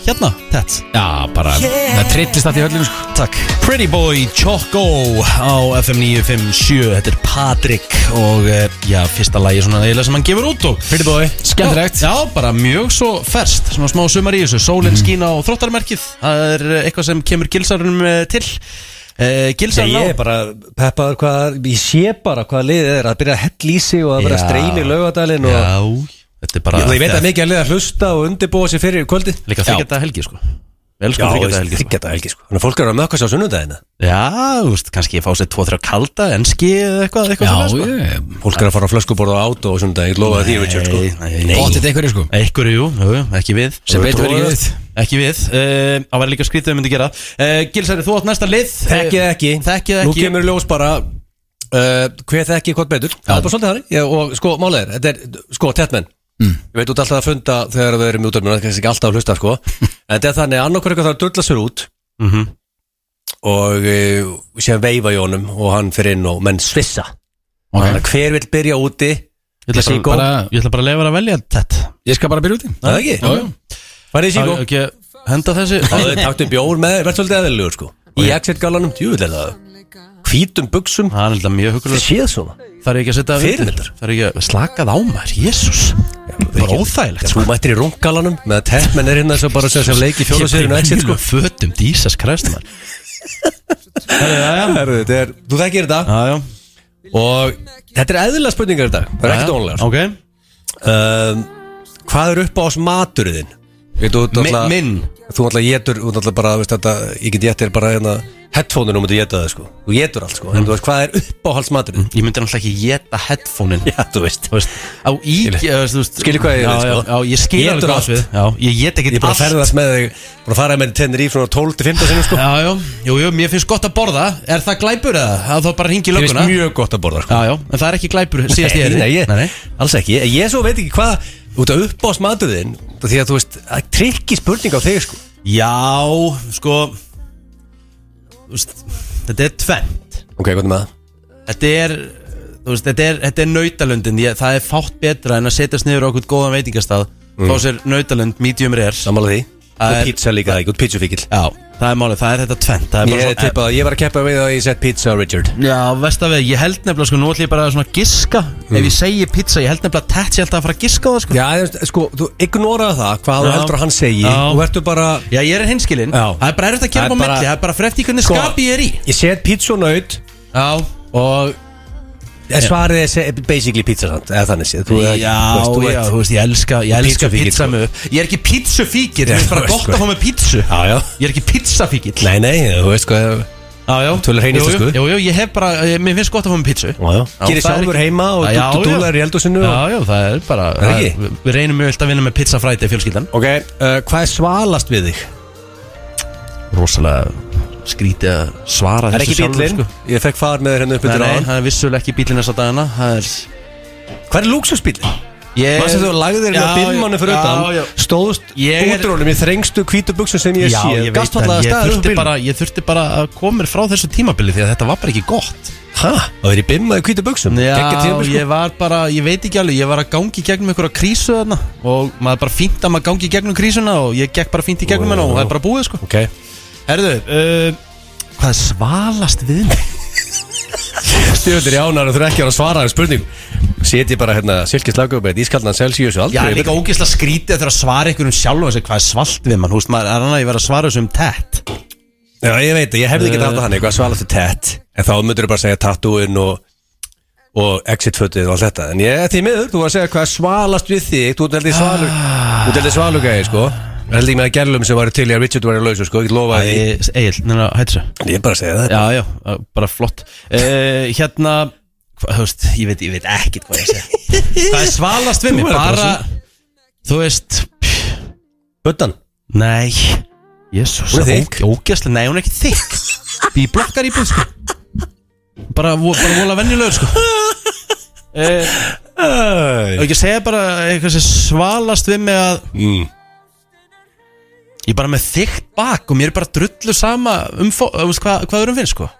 hérna, þetta
já, bara Það trillist allt í höllinu sko
Takk Pretty Boy Choco á FM 957 Þetta er Patrik og eh, já, fyrsta lagi svona eiginlega sem hann gefur út og
Pretty boy
Skemmtilegt.
Já, já, bara mjög svo ferst Svona smá sumar í þessu Sólinn skín á þróttarmerkið Það er eh, eitthvað sem kemur gilsarunum eh, til uh, Gilsarun
Ég er
á
bara peppaður hvað, ég sé bara hvað liðið er að byrja að hella í sig og að
Já.
vera að streymi laugadalinn og
Já, þetta er bara
Ég, ég veit að mikið að liða að hlusta og undirbúa sér fyrir kvöldi
Líka þryggjata helgi sko Elskum þryggjata helgi sko.
þryggjata helgi sko Þannig að fólk eru að mökka sér á sunnudagina
Já, þú veist, kannski ég fá sér 2-3 kalda Enski eða eitthvað, eitthvað
Já,
svoleiðis, sko.
ég
Fólk eru að fara á flöskuborða á átó og sunnudagin Ég lofa því Richard sko
Nei, nei,
Bóttið einhverju sko
Ekkur, jú, jú, ekki við
Sem betur
Trúið.
verið ekki við
Ekki við, Eh, það var líka skrítið að myndi gera uh, Gilsari, þú átt næsta lið
Þekkið
Eh,
ekki
Þekkið ekki
Nú kemur ljós bara uh, Hver þekki hvort betur Það er bara svolítið þannig Já, Og sko, málið er, þetta er sko, tettmenn mm. Ég veit út alltaf að funda þegar við erum í útvarpinu, það er kannski ekki alltaf að hlusta sko En þetta er þannig að annarkur eitthvað þarf að drulla sér út
Mhm.
Og uh, séðan veifa í honum Og hann fyrir inn og menn svissa Þannig
Ok,
að hver vill byrja úti
Ég ætla bara,
Síkó.
bara, ég ætla bara að leifa þér að velja þetta
ég skal bara byrja úti
Það er ekki? Farið í síkó
Á- ekki að Henda þessu
Það er taktum bjór með þér, verð svolítið aðeinlegur sko Í exit galanum, djúvill er það Hvítum buksum,
Það er alltaf mjög
það
hugulegt
séð svona
Það er ekki að setja að
Fyrirmyndar.
Það er ekki að slakað á maður Jésús Bara óþægilegt sko.
Þú mættir í rungalanum með að teppmenn er hérna svo bara sem, sem leik í fjóðasýrinu exit sko
Fötum dísas kræst maður
Herru, þetta er, þú þekkir þetta
Já, já
og þetta er eðlilega spurningar þetta það er ekkert ónlegar
Ok
um, hvað er upp á oss maturðin? Þú, ert
Mi-
náttúrulega-
Minn
þú alltaf getur, þú alltaf bara veist, þetta, ég get getur bara hérna headphone-unum og þú getur það sko, þú getur allt sko en þú veist hvað er upp á hals maturðin?
Ég myndi náttúrulega ekki geta headphone-in
Já, þú veist
Þú veist, á í eh, þú veist-
Skilur hvað ég
já,
vil,
já,
sko.
já, ég skil
Getur
alveg hvað
allt.
við Já, ég get ekki
Ég er bara að ferðast með þig, bara að fara með tennir í frá 12 til 15 sinum sko
Já, já, jú, jú, mér finnst gott að borða Er það glæpur eða? Það þá bara hringi í
Ég finnst
lögguna
mjög gott að borða sko
Já, já, en það er ekki glæpur síðast ég
Nei,
er
nei, ég,
nei, nei.
alls ekki Ég, ég svo veit ekki hvað, út af upp á smaturðin Því að þú veist, það er trikki spurning á þig sko
Já, sko þú veist, Þetta er tvent
Ok, hvað er með það?
Þetta er, þú veist, þetta er, þetta er nautalundin ég, Það er fátt betra en að setjast niður á okkur góðan veitingastað Fá sér nautalund, medium rare
Sammála því
Það
Og
er-
pizza líka það ekki, út pizzufíkil
Já, það er málið, það er þetta tvent Það er bara
Ég
svona-
tippaði, ég var að keppa við það að ég sett pizza á Richard
Já, veist að við, ég held nefnilega sko, nú ætlum ég bara að svona giska Ef ég segi pizza, ég held nefnilega að tett sé alltaf að fara að giska á það sko
Hmm. Já, þú veist, sko, þú ignoraði það hvað
Já.
þú heldur að hann segi
Já.
Þú ertu bara,
Já, ég er hinskilinn,
Já.
það er bara erfitt að gera
Það
upp á
er bara-
milli, það er bara fyrir eftir í hvernig
Sko-
skapi ég er í
ég set pizza og naut
Já,
Og en svarið er se- basically pizza sant Eða þannig séð Þú-
já,
veist, þú
já,
ert-
þú veist, ég elska, ég elska
Pizzufíkill,
pizza
sko.
með Ég er ekki pizzufíkil, mér
Já,
er bara
þú veist,
gott að
sko.
fá með pizzu
Já, já
Ég er ekki pizzafíkil
Nei, nei, þú veist hvað
Já, já
Tölur hrein
Jú, jú,
íslensku.
Jú, jú, ég hef bara, ég, mér finnst gott að fá mér pítsu
Já, já. Gerir
það er
sjálfur
ekki-
heima og
Já,
dú-
já.
dúllar í eldhúsinu og-
Já, já, það er bara
Er það ekki?
við- Við reynum mjög vilt að vinna með pizza fræti fjölskyldan
Ok, uh, hvað er svalast við þig?
Rosalega skrítið að svara
Það er
þessu sko.
ekki bílinn sko. Ég fekk far með þér henni upp
Nei,
undir
nei,
áðan
það er vissulega ekki bílinn þess að dagana Það er
Hvað er lúksusbílinn?
Ég-
Mannstu þú lagðir þér með
Já,
bílmannu fyrir
já, já.
utan Stóðst
Ég er-
útrónum í þrengstu hvítu buksum sem ég
Já,
sé
ég veit
Gastfallaða
að um ég
staður upp
þurfti,
bílnum.
bara, ég þurfti bara að koma mér frá þessu tímabili því að þetta var bara ekki gott
Hæ? Það er í bimmaði hvítu buksum Geggjað
Já,
tímabil, sko.
ég var bara, ég veit ekki alveg, ég var að gangi gegnum einhverja krísu þarna og maður er bara fínt að maður gangi gegnum krísuna og ég gekk bara fínt í gegnum
Jú,
hennar
jú,
og það
jú.
er bara búið sko
Ok
Herðu, uh, hvað er svalast við mig?
Stjöldur í ánar og þú er ekki að svara þér spurning Seti bara hérna silkið slaggöfbæð Ískaldan Celsius og
Já,
aldrei
líka ógeðslega skrítið þegar að svara ykkur um sjálf og þessi hvað er svalt við mann, húst maður, er hann að ég vera að svara þessu um tett
Já, ég veit það, ég hefði ekki þetta hann eitthvað svalast er tett En þá myndur þú bara að segja tattooinn og og exitfötið og allt þetta en ég, því miður, þú var að segja hvað er svalast við þig þú ert heldur svalug
Ah.
þú ert heldur svalugæði, sko Ég held ekki með að gerlum sem var til í að Richard var í lausu, sko, ég lofa því
Egil, neina, hættu svo
En ég er bara að segja það
Já, já, uh, bara flott uh, Hérna, hvað, þú veist, ég veit, ég veit ekkit hvað ég segi Hvað er svalast við
Þú
mig?
verður bara
Bara, þú veist, pff,
Bötan,
nei Jésús,
Hún er þykk.
ógeðslega, nei, hún er ekki þykk Því blokkar í búð, sko Bara, vo- bara vola venjulegur, sko uh, Og
Æ,
ekki að segja bara eitthvað sem svalast við mig að
mm.
Ég er bara með þykkt bak og mér er bara drullu sama um fó, uh, veist, hvað, hvað öðrum finnst sko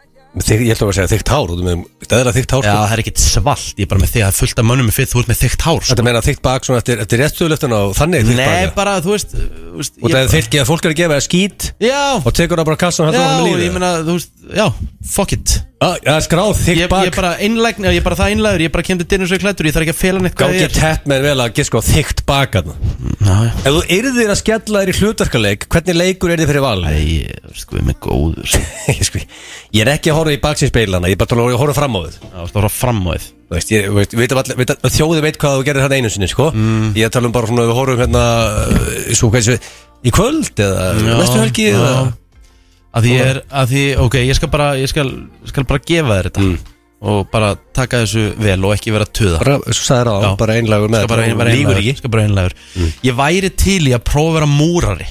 Þig, ég ætla bara að segja þygt hár, þú með stæðra þygt hár
Já,
sko.
það er ekkit svalt, ég er bara með þig, það er fullt af mönnum með fyrir, þú ert með þykkt hár sko.
Þetta meina þygt bak svona eftir, eftir réttuðlöftin og þannig þygt
Nei,
bak
bara, þú veist, uh, veist
Og
ég-
það er þylki að fólk er að gefa þér skít
Já,
og tekur það bara á kassan og
já,
heldur hann með
ég
lífið
meina, þú veist, já, fuck it
Ah, Já, skráð
Ég,
þygt
ég er
bak
bara einlægn, já, ég er bara það einlægur, ég er bara kemdi dyrnum svo í klættur, ég þarf ekki að fela neitt hvað
Gangi
ég er
tett með vel að giska á þygt bak þarna. Ef
Já, já,
þú yrðir að skella þér í hlutverkaleik Hvernig leikur er þið fyrir val?
Æ, ég, þú veist, sko, ég er með góður sko.
ég, sko, ég er ekki að horfa í baksinspeilana Ég er bara að horfa fram á þið
Já, þú veist, það var fram á þið
Þú veist, ég, þú veist, veit, all, veit, all, þjóði veit hvað þú gerir hann einu sinni sko. ég tala um bara svona við horfum hérna uh, svo, hvað, ég segi, í kvöld eða
Já,
næstu helgi
já.
eða,
Að því ég er, að því, ok, ég skal bara, ég skal, skal bara gefa þér þetta
Mm.
Og bara taka þessu vel og ekki vera að tuða
bara, svo sagði það á,
Já.
bara einlagur með
Skal bara ein-
þetta,
vera
lígur
einlægur,
ekki Mm.
skal bara einlægur Ég væri til í að prófa að vera múrari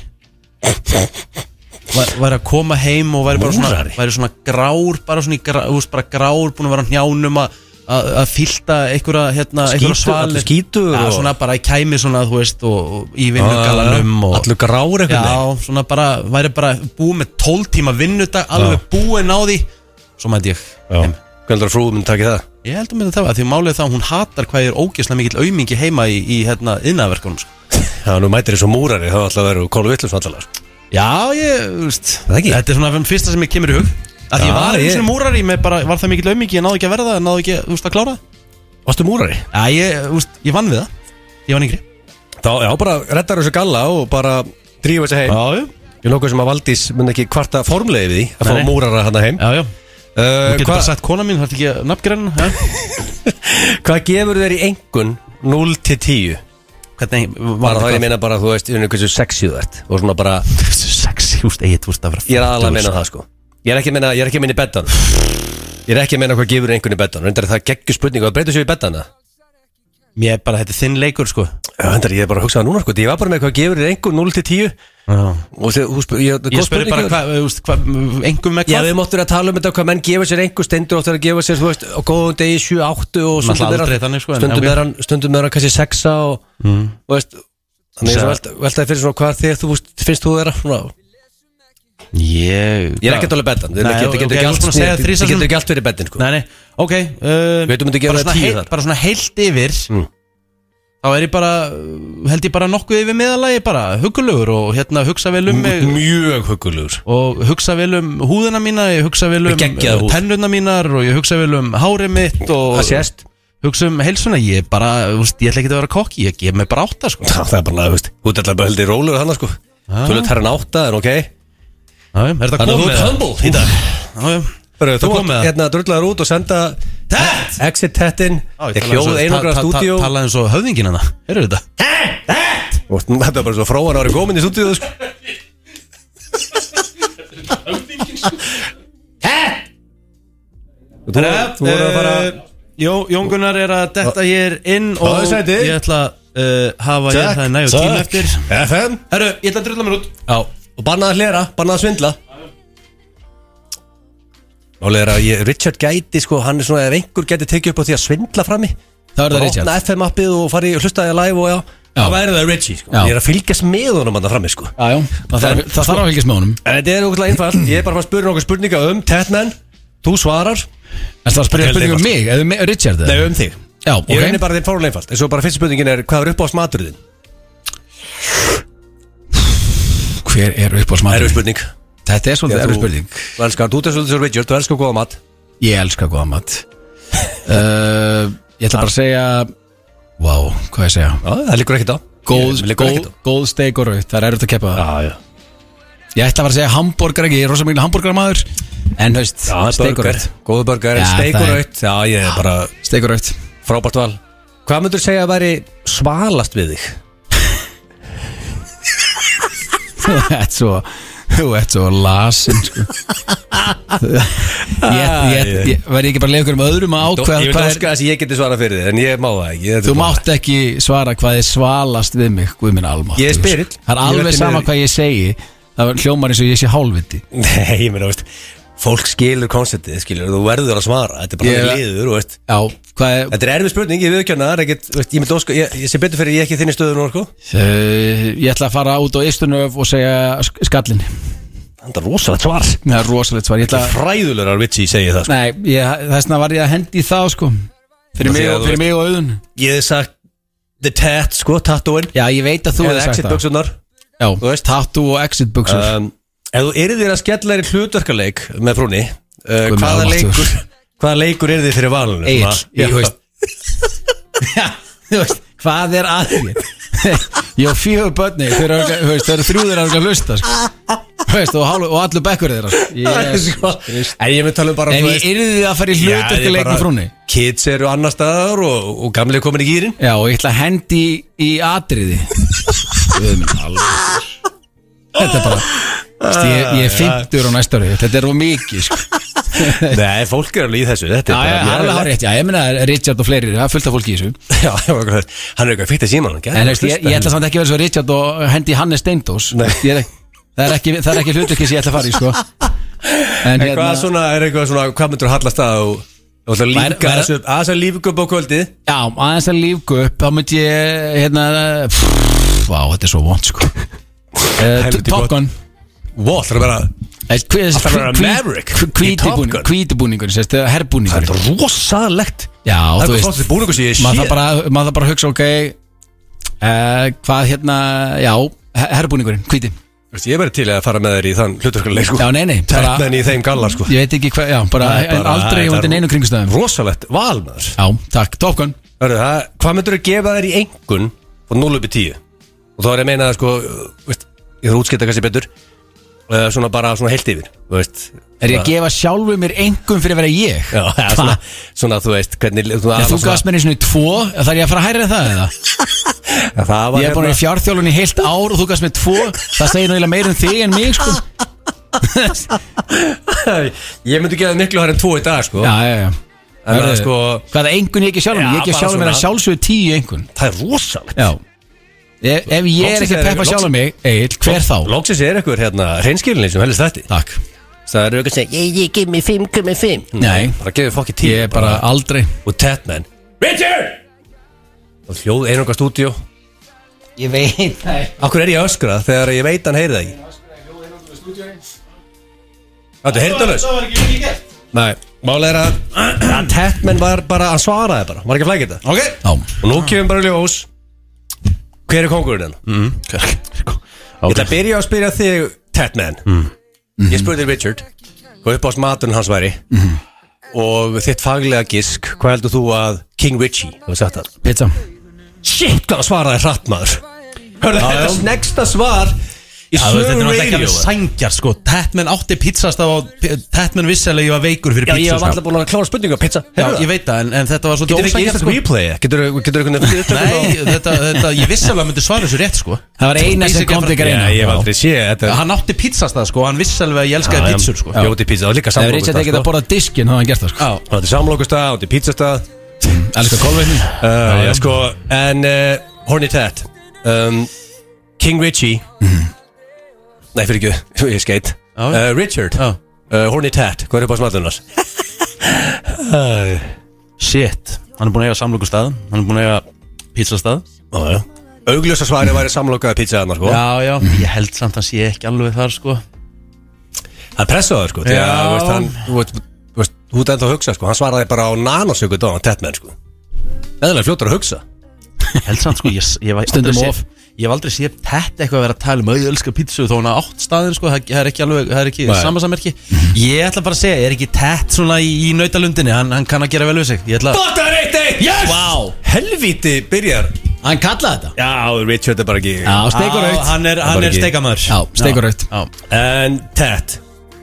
Væ- Væri að koma heim og væri bara svona,
Múrari?
væri svona grár Bara svona í grá, úst, bara grár Búin að vera á hnjánum að- að að fylta einhverja hérna, einhverja
Skítur,
svalir.
allur skítur
Já,
og-
svona bara í kæmi svona, þú veist og, og í vinnugalanum og,
Ah. allur grár einhvern veginn
Já, svona bara, væri bara búið með 12 tíma vinnudag Alveg búin á því Svo mætti ég heim.
Hvernig er frúðum takk í það?
Ég held að myndi það var því málið er það að hún hatar hvað ég er ógeðslega mikill aumingi heima í, í hérna innæðverkunum sko.
Já, nú mætir þessu múrari, það var alltaf að vera kólu vittlum svandalega
Já, ég, þú veist
Það ekki?
Þetta er svona fyrir fyrsta sem ég kemur í hug Að
Já,
ég var einu
ég-
sinni múrari með bara, var það mikill aumingi, ég náði ekki að verða, náði ekki, þú veist, að klára það
Varstu múrari?
Já, ég, þú veist, ég vann við það Ég vann yngri
Þá, já, bara reddar þessu galla og bara drífa þessu heim
Já,
Ég lóka sem að Valdís mun ekki kvarta formlegi við því að
Nei,
fá
nei.
múrara hana heim
já, já Þú
uh,
getur bara
Hvað
sagt kona mín, þarf ekki að nafngreina hana, ja?
hva gefur þér í engun 0 til 10?
Hvernig,
Bara það ég
hvað?
meina bara, þú veist, hvernig hversu sexy þú ert Og svona bara,
Hversu sexy, þú veist, eigið, þú veist, að vera
ég er aðalega að
fertugur,
meina það sko Ég er ekki að meina, ég er ekki að meina í betan Ég er ekki að meina hvað gefur einhvern í betan Reyndar er það geggjur spurning og það breytir sér í betana
sko. Mér er bara, þetta er þinn leikur, sko
Já, reyndar, ég er bara að hugsa það núna sko Ég var bara með hvað gefur þér einhvern 0 til 10
Já
Og þegar, þú spyrir, ég,
Ég spurði bara, hvað, þú veist, hvað, engum með
Já,
hvað
við móttum að tala um þetta hvað menn gefa sér einhver stendur áttur að gefa sér, þú veist, á góðum degi 7, 8 og stundum
Náttúrulega
er
aldrei þannig, sko, en-
stundum
en-
er hann, stundum er hann kannski 6 og, mm. og veist, þannig
Sa-
að velta, veltaði fyrir svona hvað þið, þú veist, finnst þú þeirra, svona,
Ég
ég er ekkert alveg betan,
Nei,
þetta
ok,
getur
ég
ekki
var búin
allt,
að segja
þetta
þrisvar
getur
sinnum.
ekki allt verið betin, sko.
Nei, nei, ok uh,
Við veitum að þetta gefa
bara,
það
svona
10
heilt-
þar.
bara svona heilt yfir
Mm.
Þá er ég bara, uh, held ég bara nokkuð yfir meðalagi bara Hugulegur og hérna hugsa vel um mig
Mjög hugulegur.
Og hugsa vel um húðina mína Ég hugsa vel um
Geggjaða húð.
tennuna mínar Og ég hugsa vel um hárið mitt Og
Það sést,
hugsa um heilsuna Ég er bara, þú veist, ég ætla ekki að vera kokki Ég gef mig bara átta, sko
það er bara, þú veist, þú ert alltaf bara heldur í rólur þannig, sko.
Ah.
Þú ert herran átta, en ok.
Já, já, Er þetta
Þannig að þú
komið?
ert humble í dag.
Já, já.
Hörru, Þú
Það
ert
komið það.
hérna drullar út og senda
Tett!
exit tettin,
Já,
ég hljóð einangra stúdíu
Talaði eins og höfðingin hana Eru þetta?
Og Þetta er bara svo fróan ári komin í stúdíu sko. Þú þú voru að fara
eh, Jó, Jón Gunnar er að detta hér inn og
Fáðu sæti.
ég ætla að uh, hafa ég það er nægjum tíma eftir
FM
Herru, ég ætla að drulla mér út
Já, og bannað að hlera, bannað að svindla Málið er að ég, Richard gæti sko, hann er svona, ef einhver gæti tekið upp á því að svindla frammi
Það er það
Bara
Richard
Opna FM appið og fari í hlustaði að live og já,
Já.
Það væri það Richie sko.
Já.
Ég er að fylgjast með honum hann frammi sko.
Já, já, það þarf það þarf að fylgjast með honum
En þetta er okkurlega einfalt, ég er bara að fara að spyrja okkur spurninga um Tetman, þú svarar
En það var að spyrja
Held
spurning um mig, eða um mig- Richard eða?
Nei, um þig
Já,
Ég okay. reyni
ok
bara þeim fórlega einfalt Eins og bara fyrst spurningin er hvað er upp á smaturðin?
Hver er upp á
Erfið
smaður?
spurning
Þetta er svolítið
Þú-
erfið spurning
Þú elskar, þú þessu þessu Richard, þú elskar góða mat
Ég elska góða mat uh, Ég ætla bara að segja Vá, hvað ég að segja
Já, það liggur ekkert á
Góð,
Ég- liggur
góð,
ekkert á.
góð steik og raut, það er erfitt að keppa það
Já, já
Ég ætla bara að segja hambúrgar ekki, ég er rosa mikil hambúrgar maður En haust,
Já,
steik og
burger,
raut
góða burger,
Já,
steik
það
og
er-
raut Já, ég er bara
Steik og raut
frábært val Hvað myndur segja að væri svalast við þig?
Þú ert svo Þú ert svo lasin sko. ég, ég, ég, Verði ekki bara að leiða ykkur um öðrum
Hvað, ég
að ákveða
vil
hvað er
óska þess að ég geti svarað fyrir þig En ég má það ekki
Þú mátt ekki svara hvað er svalast við mig Guð minn almátt
Ég er spyrill.
Það er
Ég veit
alveg
því
sama
miður.
hvað ég segi Það var hljómar eins og ég sé hálfviti
Nei, ég meina, veist Fólk skilur konceptið, skilur Þú verður að svara Þetta er bara
Ég-
yeah. liður, veist
Já, hvað er
Þetta er erfið spurning, ég viðkjörna það er ekkert, veist, Ég myndi óska, ég, ég sé betur fyrir ég ekki í þinni stöðu nú, sko
uh, Ég ætla að fara út á Ístunöf og segja sk- skallinn
Það er rosalegt svar
Það er rosalegt svar Ég ætla að
Fræðulegur Arvici segir það, sko
Nei, ég, þessna var ég að hendi í það sko Fyrir
Af því að þú
mig og, fyrir
veist-
mig og auðun
Ég hef sagt The Tat, sko, tattooinn
Já, ég veit að þú
Eða
hefði sagt
exit
það
buksunar
Já,
Þú veist.
tattoo og exit buksur
um, Ef þú eru þér að skella þér í hlutverkaleik með frúni uh,
Guð minn
hvaða,
almáttugur.
leikur, hvaða leikur eru þið fyrir valinu?
Egil,
svona?
ég veist Já, þú veist, hvað er að þér? Ég á fjögur börni þau eru örugglega- þú veist, Það eru þrjú þeirra að hlusta sko. Þú veist, og, hálf, og allur bekkur þeirra sko.
Það er
yes.
sko- En ég mynd tala um bara
En
þú
ég
veist-
yrði að fara í
Já, ég
hlutur leik
bara-
með frúnni
Kids eru annar staðar og, og gamli komin í gýrin
Já, og ég ætla að hendi í, í atriði Guð minn alveg Þetta er bara veist, ég, ég er 50 á næsta ári Þetta er rú mikið sko.
Nei, fólk er alveg í þessu Þetta
Já,
er
já,
bara mjög
alveg
alveg-
hárétt, já, ég meina Richard og fleiri, það er fullt af fólki í þessu
Já, já, akkurat. Hann er eitthvað fyrta síman
En þú veist, ég, ég ætla samt ekki að vera svo Richard og hendi í Hannes Steindós
Nei.
Ég er ekki- Það er ekki, það er ekki hlutverkið sem ég ætla að fara í sko. En
En hvað
hérna,
svona, er eitthvað svona, hvað myndur hallast að og, og það
Væri-
líka
væri-
þessu upp, að það lífið upp á kvöldið
já, aðeins að lífgu upp Þá myndi ég, hérna pff, Vá, þetta er svo vond sko. uh,
Helviti
Top
gott.
Gun
Vó, það er bara, Alltaf að vera Maverick í Top Gun.
Kvítibúningur,
það
herrbúningur
er rosalegt
Já,
Það
þú
er
veist
fórstu búningu sem ég sé
maður þarf bara, maður þarf bara að hugsa ok uh, hvað hérna já, her- herrbúningurinn, hvíti já,
Veist, Ég verði til að fara með þér í þann hluturkuleik sko.
nei, nei, bara,
Tætnan í þeim gallar sko.
ég veit ekki hvað, já, bara,
Það er bara-
aldrei
það er-
undir neinu kringustöðum
Rosalegt val maður
já, takk, Top Gun
Hörðu, það, Hvað myndur þú gefa þér í engun og 0 upp í 10 og þá er ég að meina það sko veist, ég þarf að útskipta kannski betur uh, svona bara svona heilt yfir þú veist,
er
Svona-
ég að gefa sjálfu mér engum fyrir að vera ég
Já, ja, svona, svona þú veist hvernig, þú,
Já, þú gafst mér eins og tvo, þar ég að fara að hærra það eða?
það var hérna-
Ég er búin í fjárþjálun í heilt ár og þú gafst mér tvo Það segir náttúrulega meira um þig en mig sko.
ég myndi gefa þér miklu hær en 2 í dag sko
Já, já, já
en það er
Hörðu,
sko
Hvaða engun ég ekki sjálfum?
Já,
Ég ekki
bara
sjálfum mér að
svona-
sjálfsögðu tíu engun
það er rosalegt
Já Ef, ef ég er
Loksins
ekki
er-
að peppa
loksins-
sjálfum mig, Egil, hver þá?
Lóksins er ykkur hérna reynskilinni sem helst þetta
Takk
það eru ykkur sem ég, ég gef mér 5,5
Nei.
bara gefið fokki 10
Ég er bara aldrei
og Tatman Richard og hljóð einunga stúdíu
Ég veit það
Akkur er ég að öskra þegar ég veit hann heyrið það ekki Þetta er heyrðalaus
var ekki mikið gert
Nei, málega er að að Tatman var bara að svara það bara var ekki að flækja þetta
Ok
Já,
og nú kemur bara í ljós hver er hérna? kongurinn hann
Sko,
Ég ætla að byrja að spyrja þig Tatman ég spurði þig Richard hvað upp ást maturinn hans væri og þitt faglega gisk hvað heldur þú að King Richie hefur sagt það
pizza
Shit, hvað svaraði hratt maður Hörðu, þetta sneggsta svar
Í
Já,
sögu
þú veist, þetta er náttúrulega ekki
radio
alveg
Sængjar sko Tatman átti pizzastaf og Tatman vissilega ég var veikur fyrir
Já, ég var
pizzastaf
alltaf búin að klára spurningu á pizza
Já, ég veit það, en, en þetta var svolítið
Getur ekki
ósængjar
íslensk
sko
replay? Getur þú einhvern veginn
Nei, þetta, þetta, ég vissilega myndi svara þessu rétt sko
Það var eina sem kom til
Já,
greina
ég hef aldrei sé
Já,
þetta
Hann átti pizzastaf sko, hann vissilega ég elskaði pizzur sko Já,
Jóti pizza, það er líka
Það er Richard ekki
samlokustað
að borða diskin, þá hafði hann gert það sko
já,
Það er samlokustað, það er pizzastað
Elskar kolveitni
Uh, já, sko, en uh, Horny Ted um, King Richie Nei, fyrir ekki, ég skeit
Mhm. Já.
uh, Richard,
já.
uh, Horny Ted, hvað er upp á smallunar?
Shit, hann er búin að eiga samlokustað Hann er búin að eiga pizzastað
Augljósa svari væri samlokaði pizzaðarnar, sko
Já, já, ég held samt að hann sé ekki alveg þar sko
Hann pressaði, það, sko því að,
Já.
þú veist, hann, þú veist, þú veist, þú veist, ennþá að hugsa, sko Hann svaraði bara á nanosöku dóðan, Tedman, sko Eðalega fljótur að hugsa
Ég held samt sko, ég, ég var
Stundum
aldrei
of.
sé, Ég hef aldrei séð þetta eitthvað að vera að tala um að ég elska pítsu þó hann á átt staðin sko, það það er ekki alveg, það er ekki
Nei.
samansamerki Ég ætla bara að segja, er ekki tett svona í, í nautalundinni, hann, hann kann að gera vel við sig Ég ætla að
Bóttar eitt eitt, yes!
Vá.
Helvíti byrjar
Hann kallaði þetta
Já, Richard er bara ekki
Já, steikur
Á,
aukt
Hann er,
Bara
hann er
ekki-
steikamöður
Já, steikurautt.
En Ted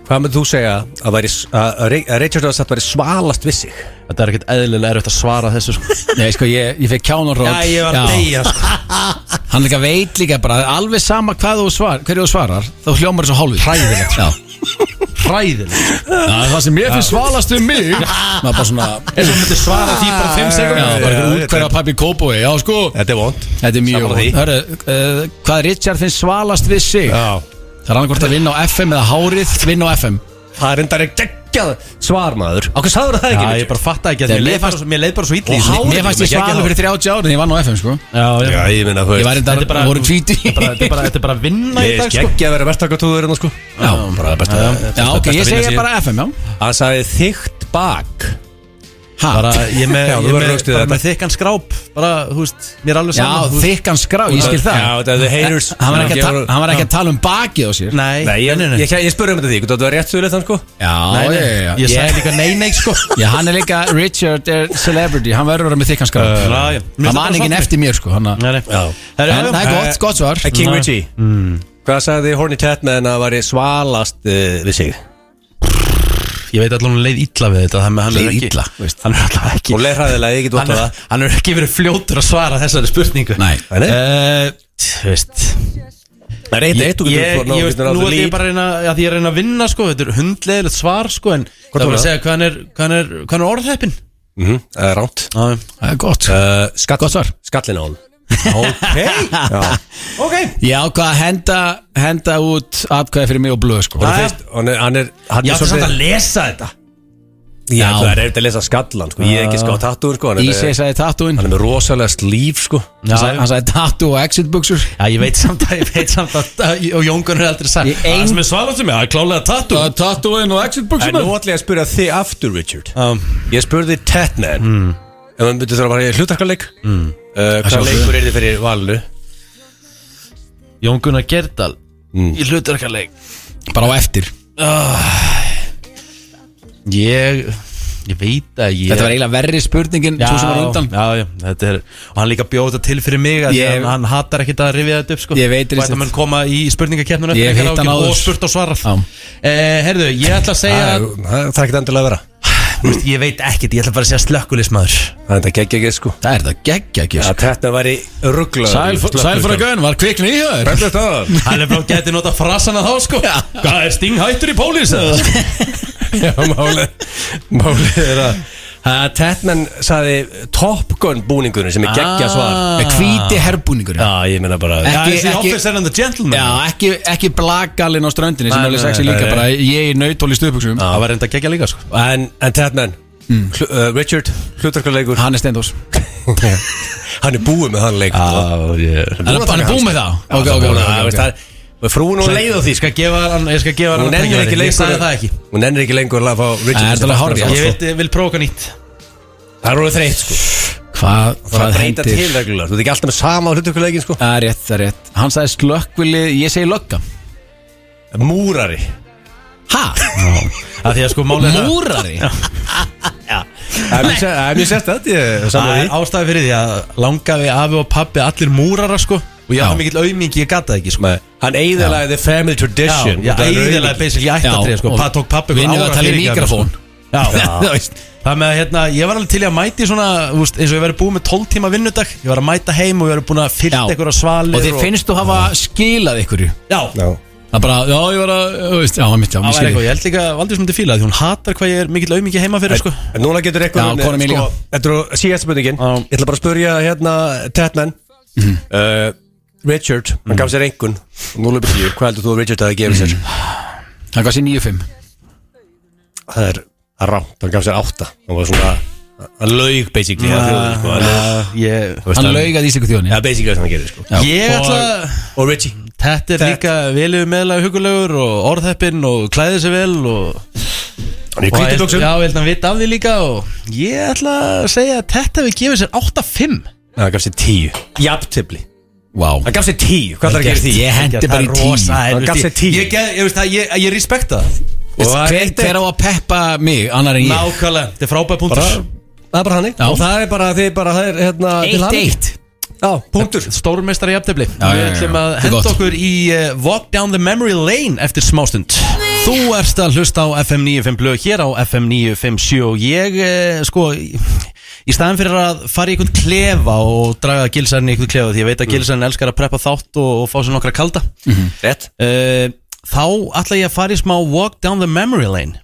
Hvað myndir þú segja að, væri, að, að Re- að Richard Rossett væri svalast við sig?
Þetta er ekkert eðlilega erfitt að svara þessu sko
Nei, sko, ég, ég fekk kjánarrót
Já, ég var að deyja sko
Hann líka veit líka bara Alveg sama hvað þú svar, hverju þú svarar Þá hljómar þessu hálfið Hræðilegt Já
Hræðilega
Já, það sem ég finnst svalast um mig maður bara svona
Eins og myndi svara því bara 5 sekund
Já, bara
Já,
ekki
ég
út hverja pappi kópói Já, sko
Þetta er vond
Þetta er mjög
Sammála því.
Hörru, uh, hvað Richard finnst svalast við sig?
Já
Það er annarkvort að vinna á FM eða hárið vinna á FM
Það er endar ekki geggjað svar maður Á hvað sagður það ekki?
Já, ég bara fatta ekki að
Þegar
mér
mér
leið bara, mér leið bara svo illi
Og hárið
Mér fannst ég
Geggjað
svalur
hár.
fyrir 30 ára en ég vann á FM, sko
Já, já,
Já, ég minna þú
Ég var
veist
enda,
bara-
voru tvíti
Þetta er bara- þetta er bara- þetta er bara að vinna í
Ég
dag
er
sko
geggjað að vera verktakatúður en það sko
Já,
Bara það besta
Já, ok, ég segi bara FM, já
Hann sagði þygt bak
Ha?
bara ég með,
Já,
Eh,
þú
ég
verður
með,
rökstuð
bara
þetta.
með þykkan skráp bara, þú veist, mér er alveg
Já,
saman þú veist.
þykkan skrá, ég skil það
Já, þetta er the haters
Hann var ekki að ta- hann var ekki að tala um bakið á sér
nei,
Nei, ég,
nei, nei.
ég, ég spurði um þetta því, þú var rétt söguleg þann sko
Já,
Nei, nei,
já, já,
ég
já.
sagði líka nei, nei, sko
Já, hann er líka, Richard er celebrity, hann verður að vera með þykkan skrá
já, Uh, já. Mér
Það
finnst
man
þetta
enginn
bara
eftir mér, sko hann að-
Nei, nei.
Já.
Herru,
En það er
já,
gott, gott svar Mm.
Eh, King Richie
Mm.
Hvað sagði Horny Tatman að væri svalast uh, við sig?
Ég veit allan hún leið illa við þetta þannig að hann er
Leið
ekki-
illa, veist.
Hann er alltaf ekki
Og leið hræðilega, ég get
Hann
út á
er,
það
hann er ekki verið fljótur að svara þessari spurningu
Nei.
Nei, nei.
Eh, Þú veist
Það er eitt eitt, þú
Ég,
getur
ég,
fór- ná-
veist, nú
getur náttúrulega
er ég
líf
bara að reyna að ég er að reyna að vinna sko, þetta er hundlegilegt svar sko, en það var
var
að
það?
segja hvað hann er, hvað hann er, hvað hann er orðheppin
Mhm, Það er ránt
Já,
Það er gott sko.
Uh, skall,
Gott svar.
Skallin á hún Ok Já. Ok
Ég ákvað að henda, henda út atkvæði fyrir mig og blöð, sko
Honum finnst- Hann er, hann er, hann
Ég
er
átti samt að lesa þetta
Já,
Já.
það er eftir að lesa skallan sko. Ég er
Ah.
ekki skáð tattúin sko. hann,
Í sig
er,
sagði tattúin
hann er með rosalega slíf sko.
Hann sagði- hann sagði tattoo og exit buksur
Já, ég veit samt að, ég veit samt að, og Jón Gunnar er aldrei sagt
Ég ein-
Það sem er svarað sem ég, það er klálega um tattu
Tattooin og exit
En nú ætla ég að spyrja þig aftur Richard
um,
Ég spurði Tatman mm. Ef hann myndi þurfa að fara í hlutarkaleik mm. uh, Hvað leikur er þið fyrir valinu?
Jón Gunnar Gerdal Í hlutarkaleik
Bara á eftir
Ég, ég veit að ég
Þetta var eiginlega verri spurningin Svo sem var á undan
já, já, þetta er Og hann líka bjóð þetta til fyrir mig að
Ég-
hann, hann hatar ekkit að rifja þetta upp sko.
Ég veit
Og
risið.
þetta mun koma í spurningakeppnun
Ég hef hitt hann áður.
Og spurt og svarað
Já.
eh, Herðu, ég ætla að segja
Það það er ekkert endilega að vera
Þú veist, Ég veit ekkit, ég ætla bara að segja slökkulismadur
Það er þetta geggja ekki sko
Það er það geggja
Að
gísk
Tatman væri rugglaður
gun, var kvikni í höður
Hvernig er það?
Hann er bara gæti nota frasana þá sko Hvað er stinghættur í pólís?
Já, málið Málið er að að Tatman saði Top Gun búningunum sem er geggja svar
Ah. Með hvíti herbúningur
Já, ég meina bara
Ekki-
Ekki, ekki
ekki-
Officer and the Gentleman
Já, ekki, ekki blaggalinn á ströndinni sem
Nei,
er alveg
nei,
sexy
nei,
líka
nei.
bara ég í nautóli stuðbuksum
Það var reynda að gegja líka sko
En, en Tatman hlu, uh, Richard, hlutarkarleikur
Hann er steindós
Hann er búið með hann leik
Ég
Hann er búið með það Ok, ok, ok, ok, ok
Og frúin og leið á því
skal gefa hann Ég skal gefa hann
Hún ennir
tækifæri.
ekki
Ég
lengur
sagði það ekki
Hún ennir ekki lengur að fá
Það er
Richard
alveg hárrétt.
Ég
Ég
veit, ég vil prófa nýtt
Það er alveg þreytt sko
Hvað,
Það
hvað
breyta til
heitir
reglulega Þú veit ekki alltaf með sama á hlutarkarleikin sko
Það er rétt, það er rétt Hann sagði slökkvili, ég segi lögga
Múrari
Ha?
Af því að sko málið er það-
Múrari?
Það er mjög sett að þetta
Það er ástæði fyrir því að langaði afi og pabbi allir múrara sko Og ég
Já.
hafði mikill aumingi, ég gataði ekki sko.
Hann eigðalagði family tradition
Já,
út af
ég æðilega
rauðvíki.
basically ættatrið
Já,
sko.
og
Pat tók pappi
vinnur að tala í mikrofón.
sko. Já,
Þú sko. veist.
það með að hérna, ég var alveg til í að mæti svona, úst, eins og ég verið búið með 12 tíma vinnudag Ég var að mæta heim og ég verið búin að
Já.
fylta einhverja svalir
Og þið finnst þú hafa skilað ykkur
Já,
Já.
Það bara, já, ég var að, þú veist, já, maður mitt, já,
það
mér
var
skilur
eitthvað, ég held líka að Valdís myndi fíla það Því hún hatar hvað ég er mikill aumingi heima fyrir sko.
En núna getur
Já,
eitthvað
konan mín líka.
sko, Þetta er síðast spurningin
Já.
Ég ætla bara að spurja hérna Tatman uh, Richard, hann gaf sér einhvern 0-10, hvað heldur þú að Richard hafi gefið sér?
Það gaf sér 9-5
Það er rámt, hann gaf sér 8 Hann var svona, hann laug basically að þjóðinni, sko, hann-
ég,
þú veist,
Hann laugaði íslengu þjóðinni
Já, basically það sem hann gerir sko
Já.
ég ætla
Og- Og Richie
Þetta er líka velu meðlega hugulegur og orðheppinn og klæðið sér vel og,
Hann er
og
kvítið tóksum
Já, ég held að hann vita af því líka og ég ætla að segja að þetta við gefið sér 8-5
Hann gaf sér 10 Jafntefli
Vá
Hann gaf sér 10, hvað þarf að gera því?
Ég hendi bara í
rosa,
10
er-
Hann gaf sér 10.
Ég, ég, ég, veist það, ég, ég respekta það
Og það er
Hver
eitt-
hver á að peppa mig, annar en ég
Nákvæmlega, þetta er frábæð punktur
Bara- Það er bara hannig
Já.
Og það er bara, þið er bara, það er hérna til hamingju.
1-1
Já, punktur
Stórmeistar í aftefli
Já, já,
Við
já, já.
ætlum að
Þetta er
henda
gott.
okkur í uh, Walk down the memory lane eftir smástund Þú ert að hlusta á FM 95 blöð hér á FM 957 og ég, uh, sko Í staðan fyrir að fara í einhvern klefa og draga gilsarinn í einhvern klefa því ég
Mm.
veit að gilsarinn elskar að preppa þátt og, og fá sér nokkra kalda
Rett
uh, Þá ætla ég að fara í smá walk down the memory lane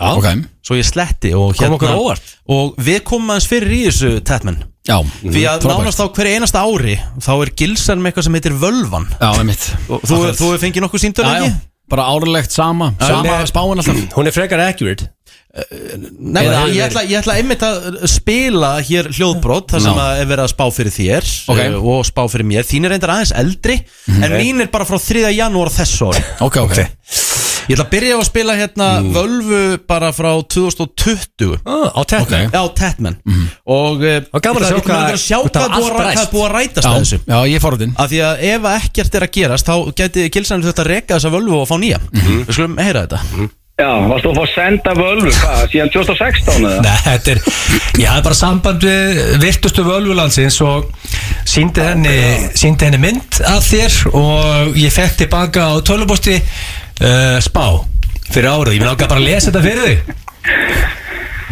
Já,
Ok,
svo ég sletti og hérna.
Kom okkur á óvart.
og við komum aðeins fyrir í þessu Tatman
já
því að
frábært.
nánast á hverju einasta ári þá er gilsan með eitthvað sem heitir völvan
Já, með mitt
og þú, þú hefur fengið nokkuð símtölu
Já, já,
ekki?
bara árlegt sama Sama
Nei.
spáin alltaf
Hún er frekar accurate
Nei,
Eða
ég,
hefur
ætla, ég ætla einmitt að spila hér hljóðbrot þar sem
Já.
að er verið að spá fyrir þér
Ok.
eh, og spá fyrir mér, þín er reyndar aðeins eldri en mín er bara frá 3. janúar þessu ári
Ok, ok
ég ætla að byrja á að spila hérna völvu bara frá 2020
ah, Á tett
Ok.
Já, Tatman og, eh,
Og gaman að
það-
sjá
ég gaman að
hvað-
sjá
hvað
hvað
það
búið að
allt
ræ-
ræst.
hvað er búið að rætast að
Já,
þessu
já, ég fór þinn
af því að ef að ekkert er að gerast þá geti gilsanir þetta að reka þessa völvu og fá nýja
Mhm.
við skulum heyra þetta
Já, varst þú að fá að senda völvu, hvað, síðan 2016 eða?
Nei, þetta er Ég hafði bara samband við virtustu völvulandsins og síndi henni, síndi henni mynd af þér og ég fekk tilbaka á tölubósti uh, spá fyrir árið, ég vil ákveða bara að lesa þetta fyrir þig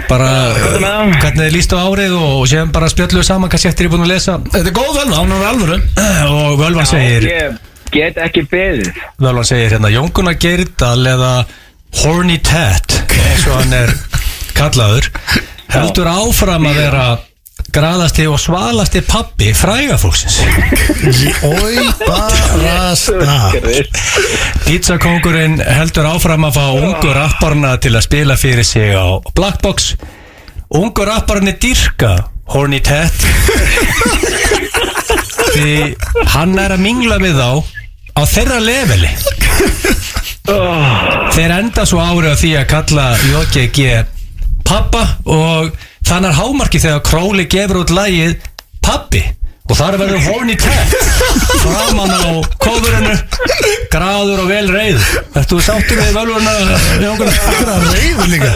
bara
með það?
hvernig þið líst á árið og, og séum bara spjölluðu saman kannski eftir ég búin að lesa þetta er góð völva, hún er alvöru og völvan segir
Ég get ekki beðið.
Völvan segir hérna Jónkuna Geirdal eða Horny Tat eins og hann er kallaður heldur áfram að vera graðasti og svalasti pappi fræga fólksins Ói, barasta Pizzakongurinn heldur áfram að fá ungu rapparna til að spila fyrir sig á Blackbox Ungu rapparni dyrka Horny Tat því hann er að mingla við þá á þeirra leveli þeir enda svo árið á því að kalla JGG pappa og þannig er hámarki þegar Króli gefur út lagið pappi og þar verður horny cat framan á kofurinu gráður og vel reyð Ertu sáttur með völvuna Jóngur?
Reyður líka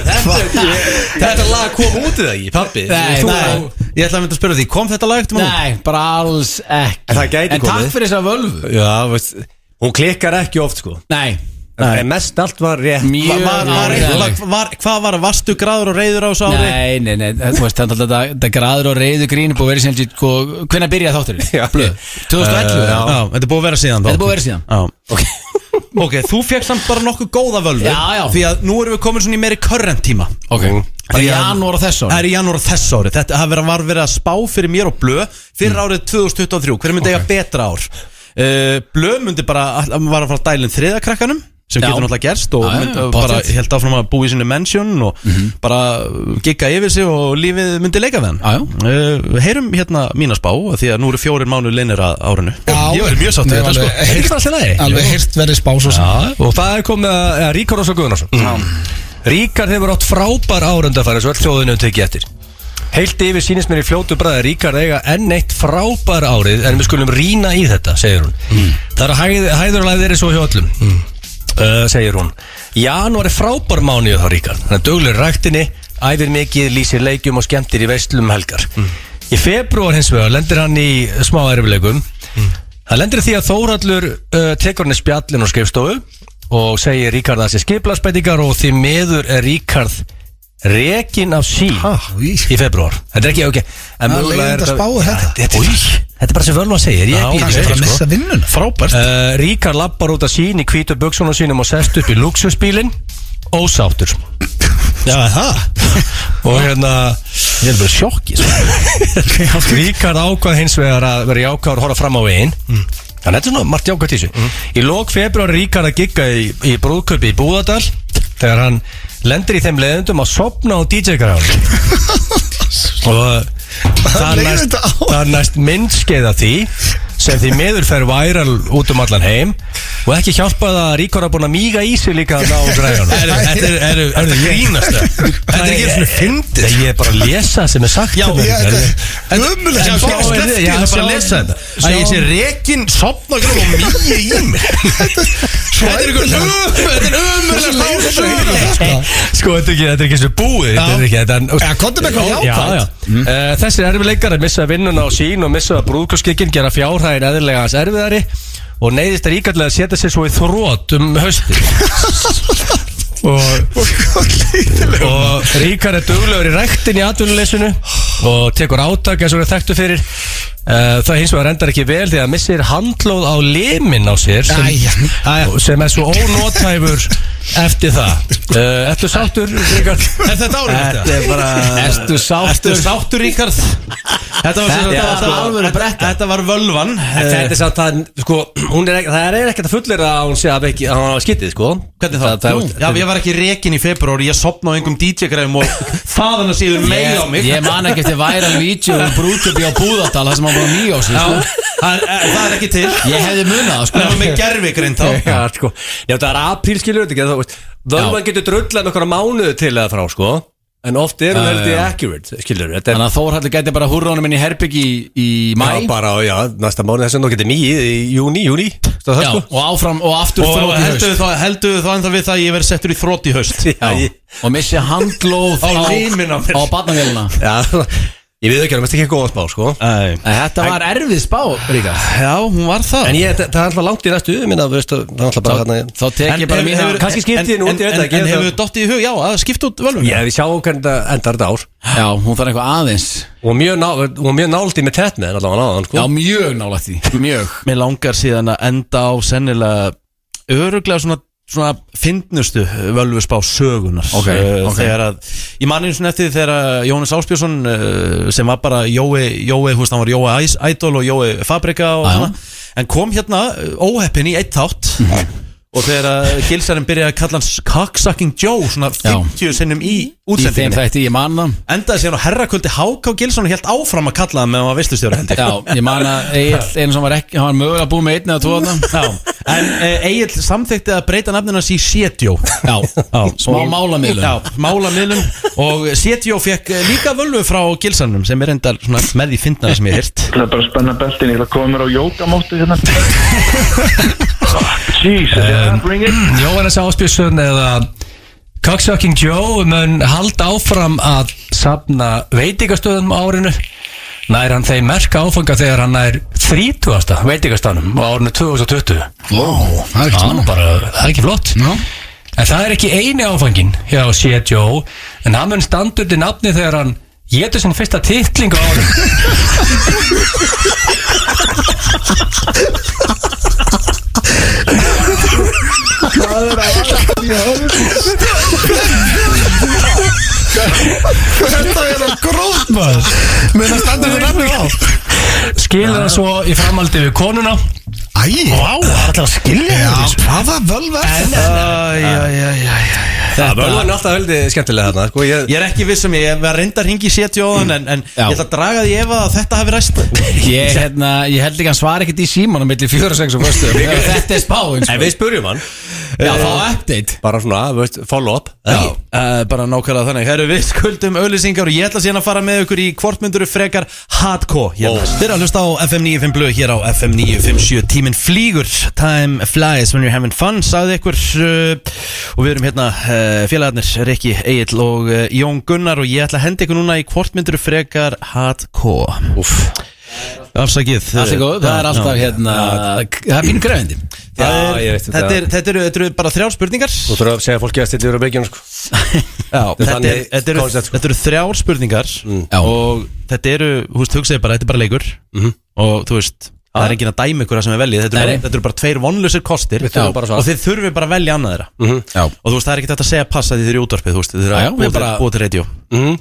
Þetta lag kom út eða ekki, pappi? Nei,
Þú-
nei, ég ætla að mynda að spyrja því kom þetta lag eftir múl?
Nei, bara alls ekki
En það gæti
En takk
komið.
fyrir þessa völvu
Já, veist, hún klikkar ekki oft sko
Nei,
en mest allt var rétt
mjög
Var, var, var,
áreiðanleg.
var, hvað var vastu gráður og reyður á þessu ári?
Nei, nei, nei, þú veist, þannig að þetta- þetta graður og reyðu grín er búið að vera sem sko, hvenær byrjaði þátturinn?
Já.
Blöð, 2011
Eh,
Já,
uh,
þetta er búið að vera síðan þá
Þetta er búið að vera síðan.
Já Ok, þú fekk samt bara nokkuð góða völvu
Já, já.
Því að nú erum við komin svona í meiri körrent tíma
Ok, það er
Því að-
janúar og þess
Það er
ári
í janúar þess ári Þetta hafa verið- var verið að spá fyrir mér og blö Fyrir árið 2023 Hver myndi eiga betra ár? Uh, blö myndi bara all- Var að fara að dælinn þriðakrakkanum Sem
Já.
getur náttúrulega gerst Og
Já, já,
myndi,
já,
bara
pottet.
held áfram að búa í sinni mansion Og bara gigga yfir sig Og lífið myndi leika við hann
Já, já.
uh, Heyrum hérna mína spá Því að nú eru fjórir mánu leinir að árinu Ég verið mjög sátt við þetta sko
Ekki bara alltaf læri
Alveg hirt verið spá svo sem
Já, og það er komið að ja, Ríkar Ósa Guðnarsson Ríkar hefur átt frábær árundafæri svo öll þjóðinu um tekið eftir Heilt yfir sýnist mér í fljótu bræði Ríkar eiga enn eitt frábær árið en við skulum rýna í þetta, segir hún Það er að hæð, hæðurlega þeirri svo hjá öllum uh, segir hún Janúar er frábær mánuð þá Ríkar Þannig að duglir ræktinni, æfir mikið, lýsir leikjum og skemmtir í veislum um helgar Í februar hins vegar lendir hann í smá erfilegum
Það lendir í því að Þórallur uh, tekur henni spjallin á skrifstofu og segir Ríkard að það sé skiplasbætingar og því miður er Ríkard rekin af sí í februar Þetta er ekki ok En
Það er
mögulega
leiðinda
þetta-
spáir þetta.
Já, Þetta er, þetta er bara sem völva segir Ég
Já,
býð
kannski
við,
bara að
sko.
missa vinnuna, frábært
Uh, Ríkar lappar út af sín í hvítu buksunum sínum og sest upp í luxusbílinn ósáttur
Já, það
og hérna
Ég er bara sko. sjokki
Ríkar ákvað hins vegar að vera jákvæður og horfa fram á veginn
Mm.
þannig að þetta er svona margt jákvæð tísu í lok februar Ríkar að gigga í, í brúðköpi í Búðardal þegar hann lendir í þeim leðendum að sopna á DJ-græðan og það er
leiðir
næst,
þetta á.
það er næst myndskeið af því sem því meður fer væral út um allan heim og ekki hjálpað að Ríkar að búin að míga í sig líka að ná græðan
Þetta er- er er þetta grínast eða? Þetta er ekki svona fyndið
Ég er bara að lesa það sem er sagt
Já,
hérna,
ég-
Ríkar.
Já,
Ömulegt
ég bara
sjáum
sleppti,
við-
ég
já,
er bara
sjáum
að lesa
við-
þetta Að ég sé rekin, sopna og mýi í mig Þetta er ykkur Þetta er ömurlega stásögur
Sko, þetta er ekki, þetta er ekki svo búið Þetta er ekki, þetta er
Já, komdu með eitthvað
Já,
jákvætt. Mhm.
já. Eh, Þessir erfi leikar missa vinnuna á sín og missa brúðkurskikkin gera fjárhæðin eðlilega hans erfiðari og neyðist er íkallega að setja sér svo í þrót um hösti og, og Ríkar er duglegur í ræktin í atvinnuleysinu og tekur átak eins og er þekktu fyrir Eh, Það hins vegar endar ekki vel því að missir handlóð á limin á sér sem, og sem er svo ónótæfur eftir það uh, Ertu sáttur, Ríkar?
Er þetta árið þetta?
er bara
Ertu
Ertu
sáttur
sáttur Ríkard? Þetta var,
Þetta
þetta,
var
þetta,
sko
var,
alvöru
þetta, þetta var völvan
Þetta
Eh,
er samt að, sko, hún er, ekki- það er ekkert að fullera að hún sé að ekki, að hún hafa skyttið, sko
Hvernig þá?
Það,
Nú, Já, ég var ekki rekin í februar Ég sopna á einhverjum DJ-græfum og þaðan að síður meið á mig
Ég, ég man ekki eftir væra vídeo um brúðköpi á Búðardal það sem hann var nýja á sig
Já,
sko.
það er það er ekki til
Ég hefði munað það, sko.
Það var með gerfigrind
Já,
þá
já, sko Já, það er apríl skilur þetta ekki, þú veist Völvan getur drullað nokkra mánuðu til eða frá, sko En oft er hún
Já,
heldur
já.
accurate, skilur þetta er-
Þannig að Þórhallur gæti bara hurra honum inn í herbyggi í, í
Já,
mæ
bara, já, næsta mánuð þess að þú getur mýið í júni, júni
Já,
Það er sko
og áfram og aftur
Og
þrótt í haust
heldur þú þá- heldur þú þá ennþá við það að ég verði settur í þrótt í haust
Já,
Já,
ég-
og missi handlóð
Á limin á mér.
á barnavélina
já, ég við ekki, það er ekki góða spá, sko
Æ.
En Þetta var erfið spá, Ríka
Já, hún var það
En ég, það það er alltaf langt í næstu, minna, veist, það er alltaf bara hérna
Þá tek ég bara
En
mína
hefur-
Kannski skipti
en-
ég nú út, ég
en-
veit það ekki,
En
ég-
hefur þú dottið í hug, já, að skipta út völvun
Já, við sjáum hvernig þetta endar þetta ár
Já, hún þarf eitthvað aðeins
Og mjög, ná, og mjög náldi með tett með allavega náðan sko.
Já, mjög nálægt því Mjög
Mér langar síðan að enda á sennilega öruglega svona svona fyndnustu völvuspá sögunar
Ok,
Eh,
ok.
þegar að ég man eins og eftir þegar að Jónas Áspjörsson eh, sem var bara Jói, Jói húst, hann var Jói Ice- Idol og Jói Fabrika og
Já.
hana en kom hérna eh, óheppin í eitt þátt
Mhm.
og þegar að gilsarinn byrjaði að kalla hans Cocksucking Joe svona 50 sinnum í
Í þeim
útsendinginni
þætti, ég man það
endaði síðan á herrakvöldi HK Gilsson og helt áfram að kalla það meðan hann var vistustjóra held ég
Já, ég man að Egil, einu sem var ekki Hann var mögulega búið með einn eða tvo þarna
Já, en uh, Egil samþykti að breyta nafninu hans í Sétjó
Já, smá málamiðlun
Já, málamiðlum og Sétjó fekk eh, líka völvu frá Gilsanum sem er endar svona með í fyndnaði sem ég heirt
Það er bara að spenna beltin, ég ætla að koma mér á jókamóttu hérna Jesus, yeah, bring it
Jóhannes Áspjösson eða Cocksucking Joe mun halda áfram að safna veitingastöðum á árinu nær hann þeim merka áfanga þegar hann nær 30. veitingastöðum á árinu 2020
Wow, það er ekki
Það er nú
svona
bara, það er ekki flott
Já.
En það er ekki eini áfangin hjá C. Joe en hann mun standa undir nafni þegar hann getur sinn fyrsta titling á árinu
Þetta er það gróft maður Með það standur þetta nafnir á
Skilur hann svo í framhaldi við konuna
Æ,
Vá, það er alltaf að skilja
já, hvaða völva er þetta?
Það völvan er alltaf veldig skemmtilega þarna sko, ég,
Ég er ekki viss um ég, ég var reyndar hringi í Sétjóðan en, en
Já.
ég ætla að draga því ef að þetta hafi ræst
Ég, hérna, ég held ekki að hann svar ekkert í símanum milli 4 og 6 og 1. Þetta er spáin
En
sko.
við spurjum hann
Já, þá update
Bara svona, veist, follow up
Já.
Uh, bara nákvæmlega þannig, herru við skuldum auðlýsingar og ég ætla síðan að fara með ykkur í kvortmynduru frekar hardcore hérna. oh. Þeir að hlusta á FM 95 blöð hér á FM 957 Tíminn flýgur, time flies when you're having fun, sagði ykkur uh, og við erum hérna uh, félagarnir Rikki Egil og uh, Jón Gunnar og ég ætla að henda ykkur núna í kvortmynduru frekar hardcore Úff afsakið
Allt er góð, það er alltaf hérna Það er mínu græðindi
Það er,
Já, ég veit þetta.
þetta, er, þetta, eru, þetta eru bara þrjár spurningar
Þú þurfum að segja fólki að stilla yfir á byggjunum sko.
Já, þetta, er,
þannig
þetta, eru,
concept, sko.
þetta eru þrjár spurningar
Já.
og þetta eru, þú veist, hugsaði bara, þetta er bara leikur og þú veist, Mhm. það er enginn að dæma ykkur sem er veljið, þetta,
Nei,
eru
nei.
bara- þetta eru bara tveir vonlausir kostir
Við þurfum
Já.
bara að Mhm. svara.
og þið þurfum bara að velja annað þeirra
Já.
og þú veist, það er ekki þetta að segja passa því þið eru í útvarpið, þú veist, þið eru
Já, já,
að
við
búa til-
bara-
búa til radio
Mhm.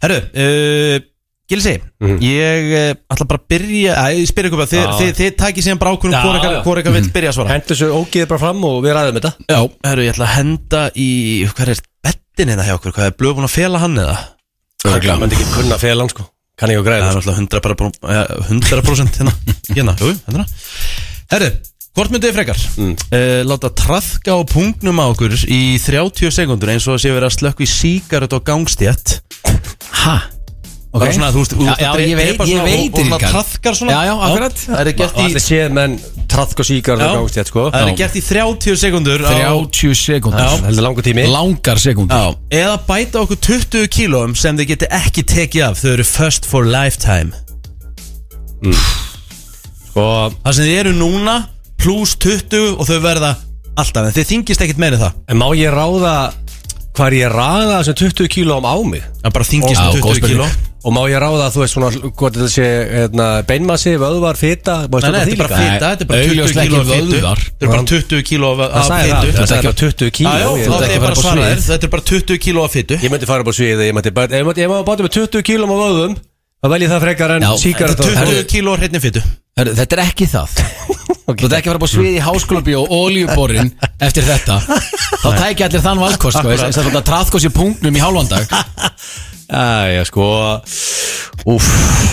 Herru, uh, Gilsi, ég uh, ætla bara að byrja, að ég spyr ykkur bara, þið,
Já.
þið, þið takið síðan bara ákvörðum
Já,
hvor ykkar-
já.
hvor eitthvað vill byrja að svara
Hentu þessu ógið bara fram og við ræðum þetta
Já Herru, ég ætla að henda í, hver er bettin hérna hjá okkur, hvað er blöð búin að fela hann eða?
Örgla Mætti ekki kunna félan sko Kann ég að
Það er
græða sko.
náttúrulega 100 bara brú- eh, 100% hérna Hérna, jú, hérna Herru, hvort myndið þið frekar? Mm. láta trafka á pungnum á okkur í 30 sekundur eins og að sé verið að slökku í síkarut og gangstétt
Ha?
okay. Bara svona, þú veist, þú
Já,
veist,
já,
að dre-
ég veit,
drepa
ég
svona
veit
Og, og svona
Ríkharð.
trafkar svona
Já, já,
Það
akkurat.
er
Og
gert í
allir séð menn Traðk og síkar og gangst sko
Það er gert í 30 sekundur á-
30
Það
sekúndur
heldur langur tími
Langar sekúndur
Já, eða bæta okkur 20 kílóum sem þið geti ekki tekið af þau eru first for lifetime
Og
Það sem þið eru núna pluss 20 og þau verða alltaf en þið þingist ekkit meira en það
en má ég ráða Hvað er ég að ráða þessum 20 kílóum á mig
Það bara þingist
Já,
um 20
góð spurning.
kíló
Og má ég ráða þú veist svona Hvort þetta sé hérna, beinmassi, vöðvar, fita Má ég
Nei, nei,
stjórna
þetta
því
er bara
líka?
fita, þetta er bara 20
Augljóslega
kíló
ekki
af fitu
vöðvar.
Þetta er bara 20 kíló af
Það sagði það,
fitu
þetta er
ekki-
bara 20 kíló
Já,
ég-
já, þá
ekki
er bara
að fara
að
upp á
svara
svið.
þér Þetta er bara 20 kíló af fitu
Ég myndi fara bara á sviðið Ég myndi bara Ef ég myndi- ef maður bátum með 20 kílum á vöðum Það velji það frekar en
Já,
síkar
Þetta er 20 kíló af hreinni fitu
Herru, Þetta er ekki það Þú ert ekki að fara búið svið í háskólabíu og olíuborin eftir þetta Þá tækja allir þann valkost sko, eins og þetta traðkost í punktnum í hálfandag
Æja, sko Úf,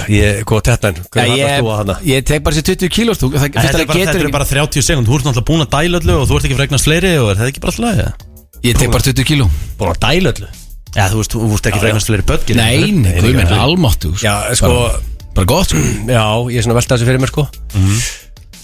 ég, sko, hvað tettmenn Hvað er það að stóa hana?
ég, ég tek bara þessi 20 kílóstúk Það fyrst
Þetta
að
er bara-
það
þetta
getur
eru
ekki
bara 30 sekund Þú ert náttúrulega búin að dæla öllu og þú ert ekki fregnast fleiri og er þetta ekki bara alltaf lagið?
Ég tek bara 20 kíló
Búin að dæla öllu
Já, þú veist, þú ert ekki fregnast fleiri börn skilur.
Nei, nei, guð minn, almáttu
Já, sko
Bara gott sko
Já, ég er svona að velta þessu fyrir mér, sko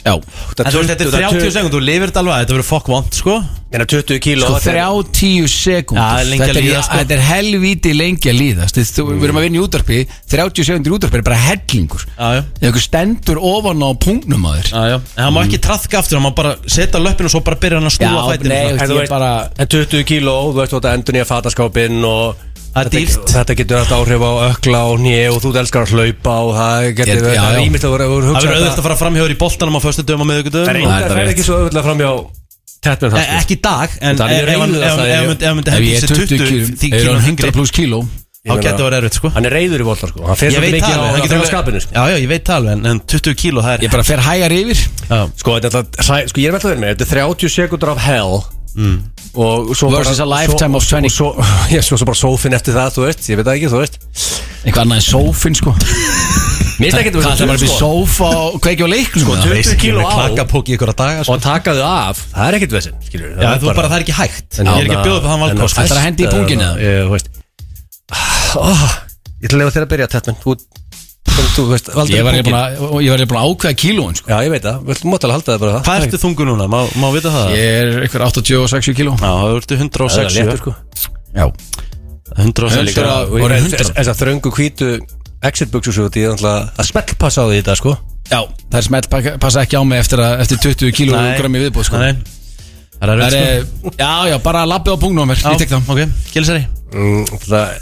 Já
En þú veist, þetta er 30 sekund, þú lifir þetta alveg, þetta verður fokk vond, sko
Meina 20 kíló
Sko
þetta er-
30
Já, það
sekundur
er lengi að
þetta,
líða,
er,
sko.
þetta er helvíti lengi að líðast Þið- Þú, Við erum að vinna í útarpi 30 sekundur í útarpi er bara hellingur
Já, já.
Ef ykkur stendur ofan á punktnum að þér
Já, já, en hann má ekki traðka aftur, hann má bara setja löppin og svo bara byrja hann að snúa fætinu
nei,
En
veist,
þú
ég
veist,
bara
en 20 kíló, þú veist, þú ert að endur nýja fataskápinn og
Það er
þetta-
dýrt.
Þetta getur alltaf áhrif á ökla og nýja og þú elskar að hlaupa og það
Ég-
getur
já,
Það er
já.
ímynd að voru voru
Það verður
hugsa
auðvitað að fara framhjóður í boltanum á föstu dögum og miðugudögum og...
Það er reyndar- það er ekki svo auðvitað framjá Tettmenn það,
Eh, Ekki í dag, en
Það er mjög
ef hann
reiður
ef
að
hann-
það
ef
er-
hann myndi ef hann myndi
Ef
hendi
ég er
sér
20 kíló
20
Ef ég er
kílóum hengri
100 pluss kíló
þá getur það verið erfitt, sko
sko Hann er reyður í voltar, sko Hann
Ég
fer svolítið
veit
mikið
það
á-
alveg,
á
hann getur
skapinu,
alveg
sko
Já, já, ég veit það alveg, en- en 20 kíló, það
Ég
er
bara fer hægar yfir
Já.
Sko, þetta er alltaf, sæ- sko, ég er vel að vera með, þetta er 30 sekundur af hell og svo
Versus a lifetime
svo,
of 20.
og svo, já, Sko, svo, svo bara sófin eftir það, þú veist, ég veit það ekki, þú veist
Eitthvað annað en sófinn sko
Mér finnst sko. ekki
Hvað það bara upp í sófa og kveikja á leiknum
Sko,
eða?
20 kíló á
klakapók í ykkur að daga, sko
og taka þau af, það er ekkit vesinn, skilur
Já, þú bara, það er ekki hægt Ég er ekki að bjóða upp á þann valkost
Ætlarðu að henda í punginn, eða?
Þú veist Ah, Ég ætla að lefa þér að byrja, Tettmann Þú, þú, þú veist, aldrei
Ég var
punginn.
ekki búin að- ég var ekki búin að ákveða kílóin sko
Já, ég veit það, við ætlum mótalega að halda það bara það
Hvað ertu þungu núna, má, má vita það?
Ég er eitthvað 86 kíló
Já, það ertu
Það er
160
léttur, sko
Já
160
Hundrað-
Já,
Og
Voru
ég-
hundrað?
þess- Þessar þröngu hvítu exit buxur svo Ég er náttúrulega að smellpassa á því þetta sko
Já, það er smelt passa ekki á mig eftir, að, eftir 20 kíló
Nei.
grammi viðbúð sko.
Nei. Það er
Það
erfitt,
er, eh, já, já, bara lappið á pungnum á mér,
sko
ég tek það
Ok, Gilsari
mm, það,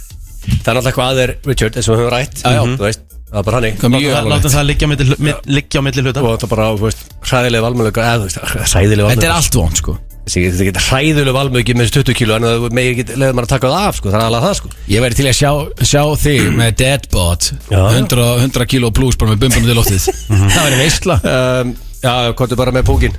það er náttúrulega hvað er Richard eins og við höfum rætt
já.
Þú veist, það er bara hannig
Hvað mjög alveg
Látum það liggja á milli hlu- mi- liggja á milli hluta
og það er bara, þú veist, hræðilega valmöðlega eða, þú veist, hræðilega
Þetta er
valmöðlega
allt vond, sko
þetta getur hræðilega valmöðlega með þessi 20 kíló en það megir ekki leður maður að taka það af, sko, það er alveg það, sko
Ég væri til að sjá, sjá þig með deadbot
Já.
100, 100 kíló pluss bara með bumbunum til lóttið Mhm. Það væri veistla
um, Já, komdu bara með púkin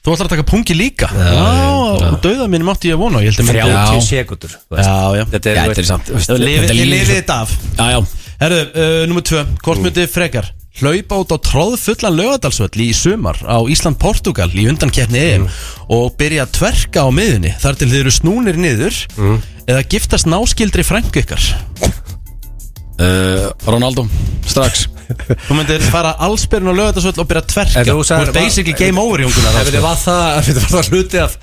Þú ætlar að taka pungi líka Já, döða mín mátti ég að vona Ég held að myndi
30 sekundur
Já, já
Þetta
Já,
er,
þetta er samt veist,
Þið lifið-
þetta
þið
líður
lifið
svo-
þetta af
Já, já,
Herðu, uh, nummer tvö Hvort myndið þið frekar Hlaupa út á tróðfullan lögadalsvöll í sumar á Ísland-Portugal í undankeppni EM og byrja að tverka á miðunni þar til þið eru snúnir niður eða giftast náskildri frængu ykkar
uh, Ronaldo, strax
Þú myndir fara allsbyrjun á lögadalsvöll og byrja að tverka
En þú
Þú
sagðir-
ert basically game over Jónguna
Ef þetta var það, þetta var það hluti af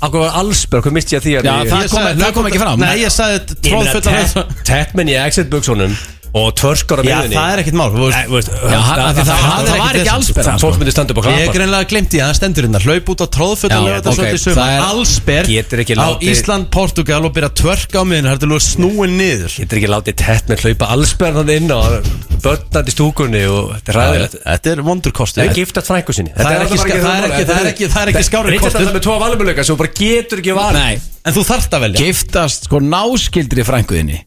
Akkur var allsberg, hvað misti ég að því að
Já,
ég-
það kom- það kom ekki fram.
Nei, ég sagði
Ég meina,
tróðfullan
Ted- Ted menn í exit buksunum og törskar á
Já,
miðunni
það er ekkert mál þú veist.
Nei, þú veist,
Já, hann- af því það- það var ekki allsber,
allsperra
sko.
Fólk myndi standa upp og
Ég er
klappa
greinlega glemt í að það stendur hérna Hlaup út á tróðfutt
Já,
og lögða
ok,
þetta svolítið suma
það er-
Allsber
Getur ekki
á
látið-
Ísland, Portugal og byrja að tvörka á miðinu Það er til að snúin niður
Getur ekki látið tett með hlaupa allsperran inn og börnandi stúkunni og þetta er ræðilegt
Þetta er vondur
Það
kostur
er giftast frængu sinni
Það er ekki ska- það er ekki- það er ekki- það er ekki skárri
kostur
kostur.
Þetta er með tvo valmöluleika sem þú bara getur ekki valið
Nei,
En þú þarft að velja
giftast sko náskildri frænguðinni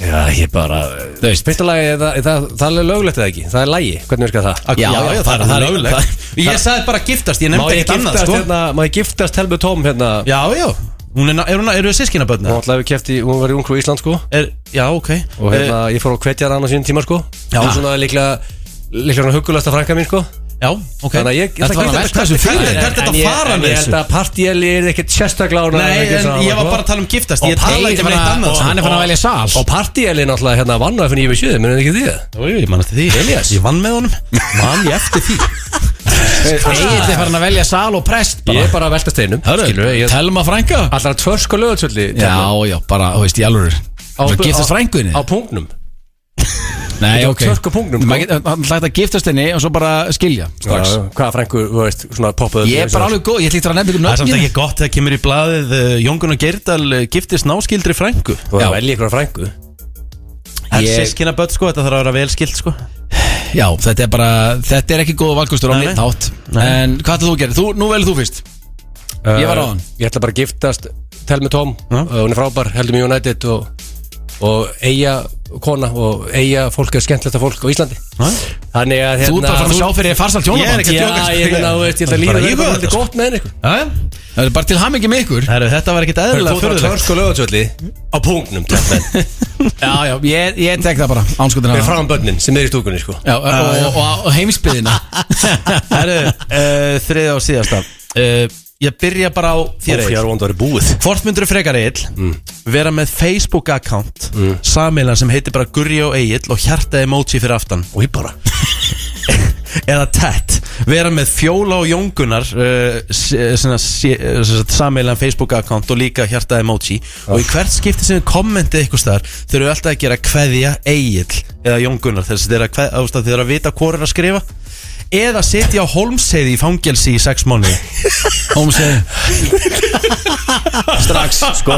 Já, ég bara
Þú veist
Fyrsta lagi, er það, það, það er löglegt eða ekki Það er lagi, hvernig virkar það?
Já, já, það er löglegt Ég sagði bara giftast, ég
Má
nefndi
ég
ekkert annað
giftast
sko
hérna, má ég giftast Helmu Tóm hérna
Já, já, hún er, er, hún, eru þið sískinabötna?
Hún ætlaði við kefti, hún var í Ungru Ísland sko
Er, já, ok
Og hérna,
Eh.
ég fór á kvetjar hann á sínum tíma sko Já Hún svona líklega, líklega hann huggulasta frænka mín sko
Já, ok
Þannig að ég, ég
Þetta var að velta þessu
Hvernig
fyrir
er þetta að fara
En
með
ég held
þessu?
að partíeli er ekkert sérstaklega ánægð
Nei,
með ekki
en
svona,
ég var
sko.
bara að tala um giftast Ég tala
Egil
ekki með
var
eitt
að-
annað sko.
sko. og Hann er fann að velja sal
Og partíeli náttúrulega hérna vann á FNÍ við sjöðu, munið ekki því það?
Jú, ég mann eftir því Elias Ég vann með honum Mann ég eftir því
Egil er fann að velja sal og prest
Ég
bara
er bara að velta steinum
Hörru,
skilurðu, ég-
telma frænga
Allra tvörsk og lögatsöldi
Já, já, bara, þú veist, í alvöru Bara Giftast frænguðinni
Á punktnum
Nei,
Þetta er
ok
tvörk á punktnum, sko.
Maður getur- Hann hlægt að giftast henni og svo bara skilja strax.
Hvað frængur, þú veist, svona poppaðu
Ég er bara alveg góð, ég ætla ekki að nefna ykkur
Það er samt
nöfnin
ekki gott þegar kemur í blaðið uh, Jóngun og Geirdal uh, giftist náskildri frængu
Þú
Já.
er vel í ykkur frængu
Það er
Ég-
sískinaböt sko, þetta þarf að vera vel skilt sko
Já, þetta er bara, þetta er ekki góð valkostur á
Nei,
neitt
nei.
nátt
Nei.
En hvað ætlaðu þú að gera? Þú, nú velur þú fyrst
Uh, Eh,
Ég var á hann.
Ég ætla bara að giftast Telmi Tom,
Já.
uh, hún er frábær, heldur mig United og, og eiga kona og eiga fólk er skemmtleta fólk á Íslandi Þannig að hérna-
Þú er bara farin að sjá fyrir þér farsal
Ég er
hjónaband
ekki að
Já,
djóka, sko.
ég meina, þú veist, ég ætla að líða
Bara
verður
íhuga
bara
sko.
þetta,
svolítið gott með sko. ykkur
Það er bara til hamingi með ykkur
Heru, Þetta var ekkit eðlilega
Þú er
fyrðulegt
tvörsk og lögatsöldi á punktnum Telmi
Já, já, ég, ég tek það bara, ánskotin
Með
hana
fram börnin sem er í stúkunni sko
Já, og, og, og, og heimsbyðina
Heru, uh, Þriða og síðasta uh, Ég byrja bara á þér
Óf, ég
eitt
er vond að vera búið
Hvort myndur frekar Egil vera með Facebook account mm. sem heitir bara Gurri og Egil og hjarta emoji fyrir aftan
Og ég bara
eða tett vera með fjóla og jóngunar uh, eh, sameilan Facebook account og líka hjarta emoji og í hvert skipti sem þið kommentið ykkur staðar þau eru alltaf að gera kveðja Egil eða jóngunar þess að þið eru að, kveð, að, þið eru að vita hvað er að skrifa eða setja á holmseiði í fangelsi í sex mánu
Hómsið Strax, sko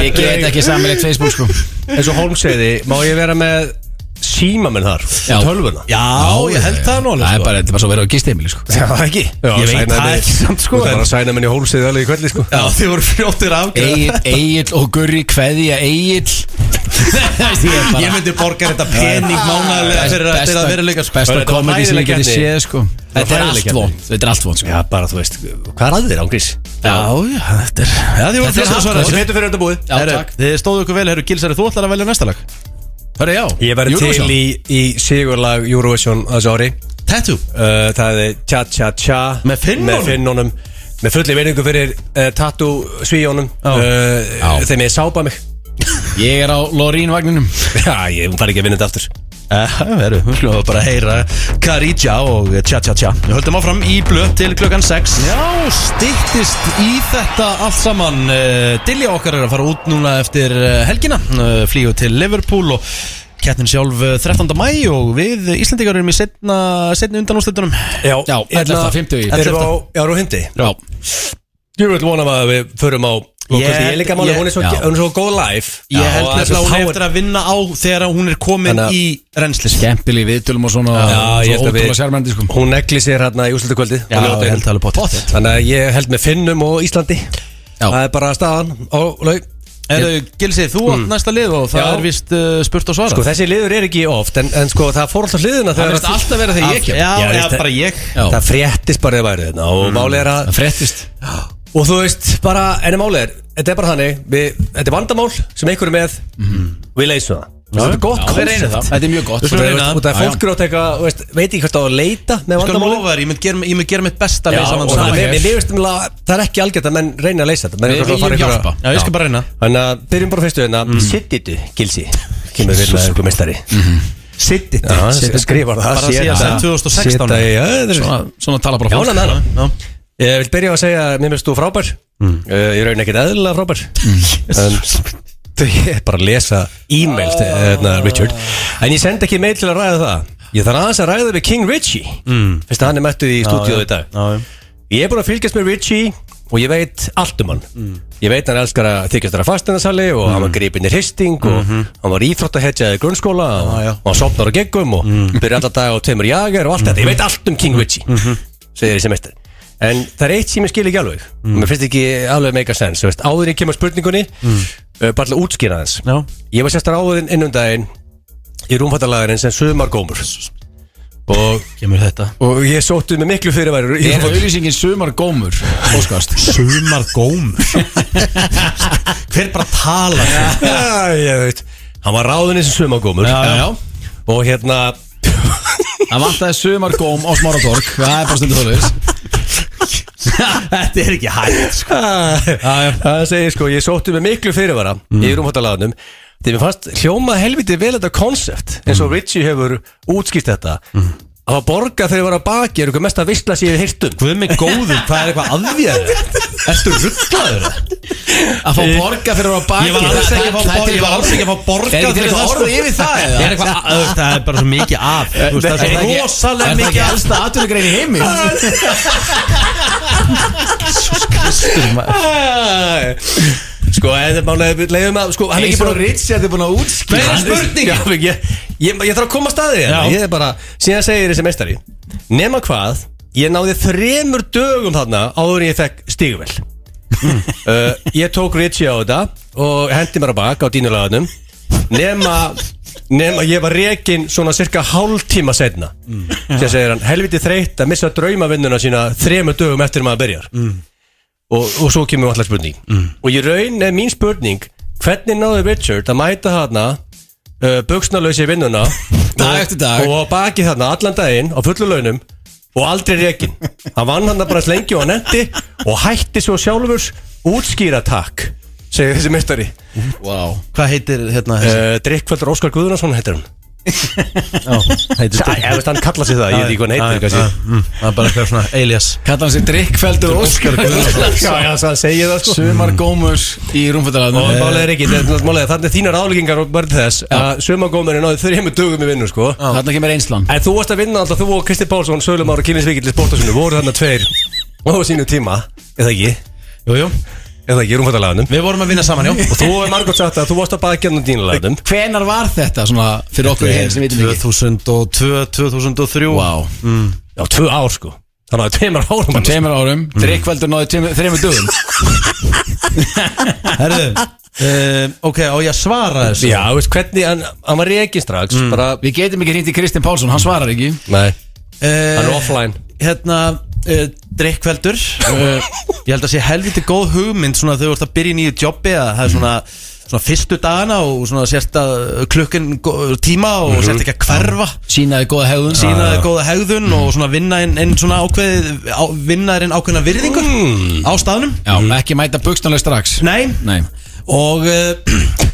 Ég get ekki samilegt Facebook, sko
eins og Holmes segði, má ég vera með símamenn þar,
Já.
tölvuna
Já, ég held það nú
Það
alveg
er
sko.
bara, þetta er bara svo verið á gisteimili, sko
Já, ekki Já,
Ég veit það ekki samt, sko,
Þú ert
en-
bara að sæna minni Holmes segði alveg í kveldi sko
Já, þið voru fljóttir afgjöð
Egil, Egil og Gurri, kveðja Egil Ég
Ég myndi borga þetta pening mánaðlega fyrir að þetta vera leika sko
Besta
Þetta var
komedi sem ég
hræðileg
geti
keppni.
séð sko Þetta er
hræðileg
allt
keppni.
vond Þetta er allt vond sko
Já, bara þú veist, hvað er að þér ángris?
Já, já, þetta er Já, þið voru
Þetta
fljóttir að
er hardcore.
svara
Þessi
þessu.
betur fyrir þetta búið
Já,
Herru,
takk
Þið stóðu ykkur vel, herru Gilsari, þú ætlar að velja næsta lag
Hörru, já
Ég verði
Eurovision.
til í, í sigurlag Eurovision að þessu ári uh,
Tattoo
Það er tja tja tja
Með Finnunum?
Með finnunum Með fulli veiningu fyrir uh, tattoo svíjónum
Já.
uh,
Já.
Þeim ég sápa mig
Ég er á Lorín vagninum
Já, ég hún fari ekki að vinna þetta aftur
Eh, Herru, við skulum bara að heyra Karija og Tja Tja Tja Við höldum áfram í blöð til klukkan 6 Já, stýttist í þetta allt saman Eh, Dilja okkar er að fara út núna eftir eh, helgina Eh, Flýgu til Liverpool og Kettin sjálf eh, 13. mæ og við Íslandingar erum í setna, setni undanúslitunum
Já,
Já, 11. 50 í-
Erum við á, já, erum við á hundi
Já
Ég vil vonum að við förum á
Ég-
Ég er líka máli,
ég-
hún er svo,
já.
hún er svo góð live
Ég held nefnilega að hún er
eftir
eftir að vinna á þegar hún er komin
Þannig að-
í rennslis
Kempil í viðtölum og svona
Já, ég
Svo
held að
ótrúlega
við
sérmændi sko
Hún negli sér hérna í úrslutukvöldi
Já, ég held alveg pottet.
Þannig að ég held með Finnum og Íslandi
Já.
Það er bara staðan og laug
Erðu, Gilsi, þú átt næsta lið og það
Já.
er vist uh, spurt og svarað
Sko þessi liður er ekki oft En, en sko það fór alltaf hliðina
Það
þegar
verðist alltaf vera þegar ég
Já,
kem
já,
Já, veist,
bara ég Mm.
Já.
Það fréttist bara þegar værið þetta Og málið er að
Það fréttist
Og þú veist bara En málið er Þetta er bara þannig við, Þetta er vandamál Sem einhver er með
Mhm.
Við leysum það Þetta er gott
Hver einu það Þetta er mjög gott
skulum reyna það.
Út af
Já, já.
fólk er átt eitthvað þú veist, Veit ekki hvort það á að leita Með
Skal
vandamálið
lofa þér, ég mynd gera, ég mynd gera mitt besta að
Já,
leysa
og
hann
það
saman
er-
hér.
mér lifist nefnilega- það er ekki algjört að menn reyna að leysa þetta Menn
Við
eru að fara
viljum
einhverja-
hjálpa.
Já, ég skal bara reyna
Þannig að byrjum bara fyrstu hérna mm. Sittitu, Gilsi Kemur við með ykkur mestari
Mhm.
Sittitu, skrifar það
Bara síðan sem 2016.
Sitta í, já, þetta er svona
Svona, svona tala bara
Já,
fólk
næ, næ, næ
Já.
Ég Eh, vil byrja á að segja að mér finnst þú frábær mm. Ég raun ekkert eðlilega frópar mm. en, ég er bara að lesa e-mail til hérna, Richard En ég sendi ekki mail til að ræða það Ég þarf aðeins að ræða við King Richie mm. Fyrst að hann er mættuð í stúdíu í dag
Já, já.
Ég er búin að fylgjast með Richie og ég veit allt um hann
Mm.
Ég veit hann elskar að þykjast þar að fastinarsali og hann var gripinn í hristing og
Mhm.
hann var íþróttahetjaði í grunnskóla og,
já.
og hann sopnar á geggum og byrja alltaf dag á tveimur jager og allt þetta Ég veit allt um King Richie segir þessi mestar En það er eitt sem ég skil ekki alveg Mér finnst ekki alveg meika sens þú veist, Áður en ég kemur spurningunni mm. Bara til að útskýra þess
Já.
Ég var sérstar áður innum daginn Í rúmfattalagurinn sem sumargómur Og,
Kemur þetta
og ég sóttu með miklu fyrirværi í
Er
rúmfattalag-
auðlýsingin sumar gómur Óskast
Sumar góm Hver bara tala
Já, ég veit Hann var ráðin eins og sumagómur
já, já.
Og hérna
Það vantaði sumar góm á smára tork Það er bara stundu þóluðis
Þetta er ekki hægt sko.
Það segir sko, ég sótti með miklu fyrirvara
Mm.
Í rúmhóttalaganum Þegar mér fannst hljóma helviti vel þetta konsept eins
Mm.
og Richie hefur útskýrt þetta að að borga þegar ég var að baki er eitthvað mest að vissla sér hirtum
Guð mig góður, hvað er eitthvað aðvíðað Ertu rugglaður?
Að fá borga fyrir að baki
Ég var alls ekki að fá borga Ég var alls ekki að fá borga
Er ekki
fyrir
til eitthvað
það,
orð
sko.
yfir það eða?
Er eitthvað, að- auðvitað, það er bara svo mikið af Þú veist, Það er svo rosalega mikið af
af Er það ekki alltaf aðtunugrein í heimi?
Sko, eða málega leiðum að sko, hann er ekki búin að
Richard er búin að útskýra
Meira
Hann er-
spurning Já, ég, ég, ég, ég þarf að koma að staði hérna. Ég er bara, síðan segir þessi meistari Nema hvað, ég náði þremur dögum þarna áður en ég fekk stíguvel uh, Ég tók Richie á þetta og hendi mér á bak á dínulaganum Nema, nema ég var rekin svona cirka hálftíma setna Sér segir hann, helviti þreytt að missa draumavinnuna sína þremur dögum eftir að maður byrjar og, og svo kemur allar spurning og ég raun er mín spurning hvernig náði Richard að mæta hana uh, buksnalösi vinnuna
Dag
og-
eftir dag.
og á baki þarna allan daginn á fullu launum og aldrei rekin hann vann hann bara slengi og hann endi og hætti svo sjálfur útskýra takk segir þessi mestari
Wow
Hvað heitir hérna þessi?
uh, Drikkveldur Óskar Guðunarsson heitir hann
Heitir
Æ, ef veist hann kallar sig það, ég veit ekki hvað hann heitir kannski.
Það er bara eitthvað svona Elias
Kallar hann sér drikkfeldur Óskar
já, já, það segir það sko
Sumar gómur í
Og
rúmfættalarnu
málega er ekki, þannig að þínar álíkingar og bara þess að sömagómurinn náði þrejum dögum í vinnu sko
Þarna kemur einslan
En þú varst að vinna alltaf, þú og Kristi Pálsson, Sölum Ára, Kynlisvíkildi, Sportasunni, voru þarna tveir á sínu tíma, eða ekki,
Jú, jú
eða ekki, rúmfattalaganum.
Við vorum að vinna saman, já
Og þú hefur margótt sagt að þú varst að hérna baða gennum dínulaganum.
Hvenar var þetta svona fyrir okkur
Eh,
hinn sem vitum ekki?
2002, 2003
Wow
Já, tvö ár sko. Þannig að tveimur árum. sko.
Á Tveimur árum Drikkfeldur náði tveimur- þremur dögum
Herðu uh, Ok, á ég að svara þessu
Já, veist hvernig, hann, hann var reygin strax,
Mm.
bara,
Við getum ekki hringt í Kristinn Pálsson, hann svarar ekki
nei, hann er
uh,
offline.
Hérna uh, Drikkveldur uh, Ég held að sé helviti góð hugmynd Svona þegar þú ert að byrja í nýju jobbi að Það er svona Svona fyrstu dagana og svona sérst að klukkan gó- tíma og sérst ekki að hverfa
Sínaði góða hegðun
sína þér góða hegðun og svona vinna inn, inn svona ákveðið á, vinna þér inn ákveðna virðingu á staðnum
Já, ekki mæta buksnálega strax
Nei,
Nei
og uh,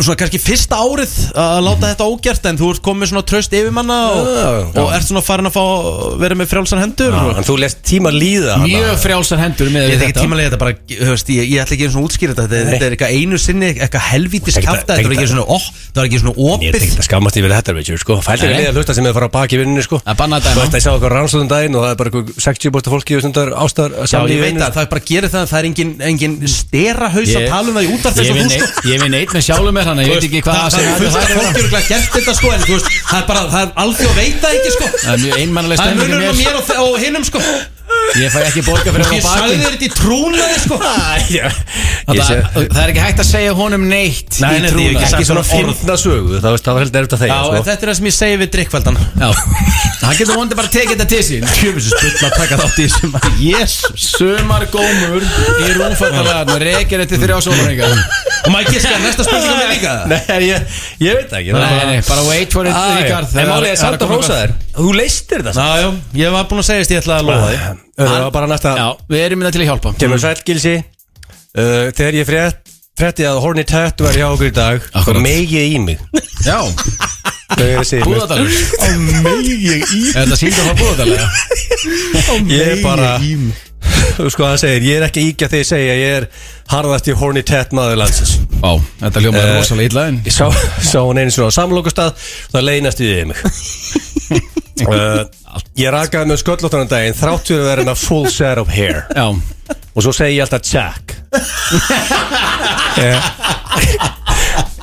svona kannski fyrsta árið að láta þetta ógjart en þú ert komið svona tröst yfirmanna og, og ert svona farin að fá vera með frjálsar hendur og,
En þú lest tíma líða hann.
Mjög frjálsar hendur með
Ég veit ekki tímalega þetta bara, höfst, ég, ég ætla ekki einu svona að útskýra þetta þetta, þetta er eitthvað einu sinni, eitthvað helvítis
Ekkert-
kjafta þetta var ekki
ekkert-
svona, ó, þetta var ekki svona
Ég er
opið
ekkert að skammast yfir þetta, veit ég, sko. Fældi
Nei.
ekki leiða hlusta sem er að fara að baki vinnunni, sko.
Að banna þetta,
Þú
já.
veist að ég sá eitthvað rannsóðum daginn og það er bara eitthvað 60% fólki og stundar ástar
Já, ég
samlífi
veit
vinnunni,
að það er bara að gera það, það er engin, engin sterahaus að
Ég-
tala um það í útvarp eins
Ég
og þú
vinn
sko
eitt- ég vinn eitt með sjálfum mér þannig að ég veit ekki hvað
það, það
að segja
er fullt af fólk eru glæð gert þetta sko en þú veist, það er bara, það er alþjóð veita ekki sko
Það er mjög einmannalega
Það er
stemming í
munurinn á
mér
mér og, þe- og hinnum sko
Ég fæ ekki borga fyrir
Ég
að fara á
sagði
bakinn
þér þetta í trúnaði sko
Ég sé-
Það það er ekki hægt að segja honum neitt
Nei,
í
nei, því ég
trúna.
ekki
ekki
sagt
svona
svona orð.
fyrna sögu það, veist, það var heldur erft að
Já,
þegja sko.
en þetta er það sem ég segi við drikkveldan
Já, hann getur vondi bara að tekið þetta til sín
Tjöfisins bull að taka þátt í þessum Jesus
Sumar gómur í rúmfattalagarnu Reykjur eftir þrjá sólurringar
Og maður ekki skar næsta spurning á mig líka
Nei, ég, ég veit ekki
Nei, nei, bara wait for it, Ríkard
En málið er samt að hrósa þér Þú leistir það
Já, já, ég var búin að segja þess ég ætlaði að lofa því
Það var bara næsta
Já, við erum minna til að hjálpa
Kemur sæl gilsi uh, Þegar ég frétt Frétti að Horny Tattoo var hjá okkur í dag
Akkurat.
þá meig ég í mig
Mm. Já,
Þegar ég segi mér.
búðadalur
Megið í
Er þetta síndur frá búðadalur?
Ég er bara
Megið í
Þú sko það segir Ég er ekki að íkja þegar ég segi að Ég er harðast í Horny Tattoo maður landsins
Vá, þetta hljóma er
Eh,
rosalega illa en
Ég sá, sá hún einu svona á samlokastað Það leiðinast við mig uh, Ég rakaði með sköllóttunum daginn Þráttur að vera hennar full set of hair
Já,
Og svo segi ég alltaf Jack Eh,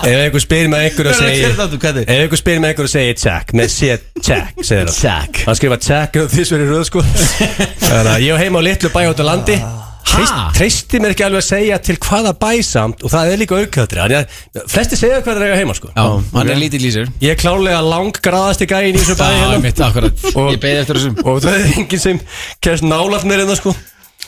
Ef einhver spyrir með einhver og
Verður að
segir
gera þetta, hvað er?
Ef einhver spyrir með einhver og segir Jack Með sér Jack, segir hann
Jack.
Hann skrifa Jack og því svo er í röð sko Þannig að ég var heima á litlu bæ út á landi
Ah.
Treyst, treysti mér ekki alveg að segja til hvaða bæ samt og það er líka aukaðri Þannig að flesti segja hvað það er heima sko
já, hann er lítið lýsir
Ég er klálega langgraðasti gæinn í þessu
Já,
bæði hérna
mitt, akkurat
Og-
Ég beði eftir þessum
Og það er enginn sem kemst nálaft mér hérna sko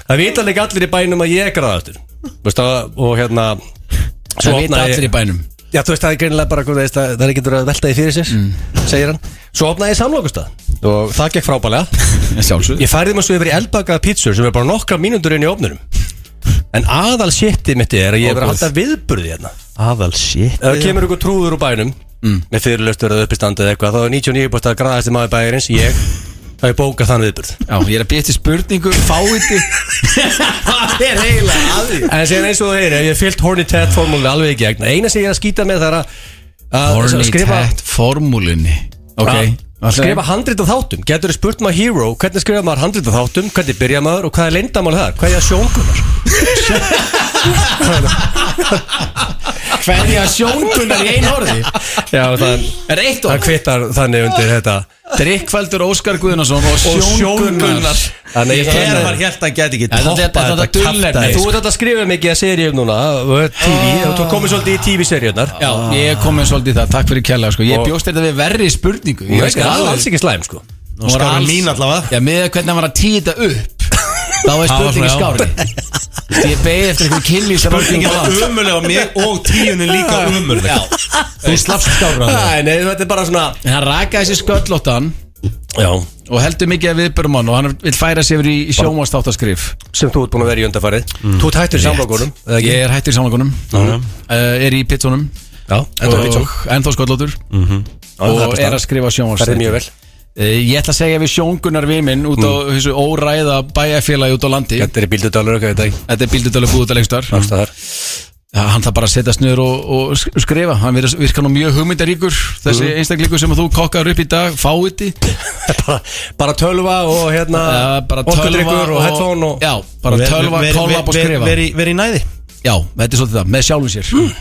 Það vita líka allir í bænum að ég er graðastur Veistu að, og hérna
Það vita
opnaði-
allir í bænum
Já, þú veist, það er greinilega bara, hvað veist, það það er ekki að velta því fyrir sér
Mm.
Segir hann Svo opnaði ég samlokustad Og það gekk frábælega
Sjálfsög
Ég færði maður svo yfir í eldbakaða pítsur sem er bara nokkra mínútur inn í ofnunum En aðal shitið mitt er að ég hefur að halda viðburði hérna
Aðal shit
Ef það kemur ykkur trúður úr bænum
Mm.
með fyrirlöstur eða uppistand eða eitthvað þá er 99% að graðasti maður bæjarins ég þá er bókað þann viðburð
Já, ég er að býja til spurningu, fáiði
Það er eiginlega aðið
en síðan eins og það er, ef ég hef fyllt horny tet formúli alveg í gegn, eina sem ég er að skýta með það er að- að að
Horny
skrifa
Tat formúlunni Ok,
að skrifa handrit af þáttum, getur þið spurt maður hero hvernig skrifa maður handrit af þáttum, hvernig byrja maður og hvað er leyndamál það, hvað er sjónkunar
Hverja sjónkunnar í einu orði
já, það,
Er eitt
það
orð
kvittar þannig undir þetta
Drikkveldur Óskar Guðnason og sjónkunnar
sjóngunnar. Þannig ég
Þegar var
þarna-
hjælt að geta ekki
Þetta- þetta-
toppað
þetta
þetta sko.
dulnefni.
kaftaði
Þú ert alltaf að skrifa mikið að seríum núna uh, TV, og þú komið svolítið í TV-seríunar
Já,
Ah.
ég kom með svolítið í það, takk fyrir kjærlega sko. Ég bjóst þetta við verri spurningu
Ég
Ég
veist
veist
það er
alveg
alls ekki slæm sko
Hún var
Skárin
alls-
mín allavega.
Já, með hvernig hann var að títa upp Þá er
Það var
spurningi
svona,
skári Ég beði eftir einhver kynli sem var ekki
Spurningin
á
var
land.
ömurlega á mig og tíunin líka ömurlega
Þú slappst skára
Nei, nei, þetta er bara svona
En hann rakaði sér sköllóttan
Já,
Og heldur mikið að viðbörum hann Og hann vil færa sér yfir í sjónvastáttaskrif
sem þú ert búin að vera í undarfarið
Mm.
Þú ert hættur í samlokunum
Ég er hættur í samlokunum uh, Er í pittunum
Já, en þú
Og ennþá sköllóttur
Mm.
Og er að skrifa
Það er
sjónvastáttaskrif
mjög vel
Eh, Ég ætla að segja við sjóngunnar vimin út á
Mm.
þessu óræða bæjarfélagi út á landi
Þetta er bíldudalur okkar í dag
Þetta er bíldudalur búið út að lengstar
Afstæðar
Hann þarf bara að setjast niður og, og sk- skrifa Hann virðist- virkar nú mjög hugmyndaríkur Þessi mm. einstakleikur sem að þú kokkar upp í dag Fáiði
bara, bara tölva og hérna
Mm. Bara tölva
orkudrykkur og headphone og
Já, bara tölva, kollab og skrifa
Verið í næði
Já, þetta er svolítið það, með sjálfum sér
Hmm.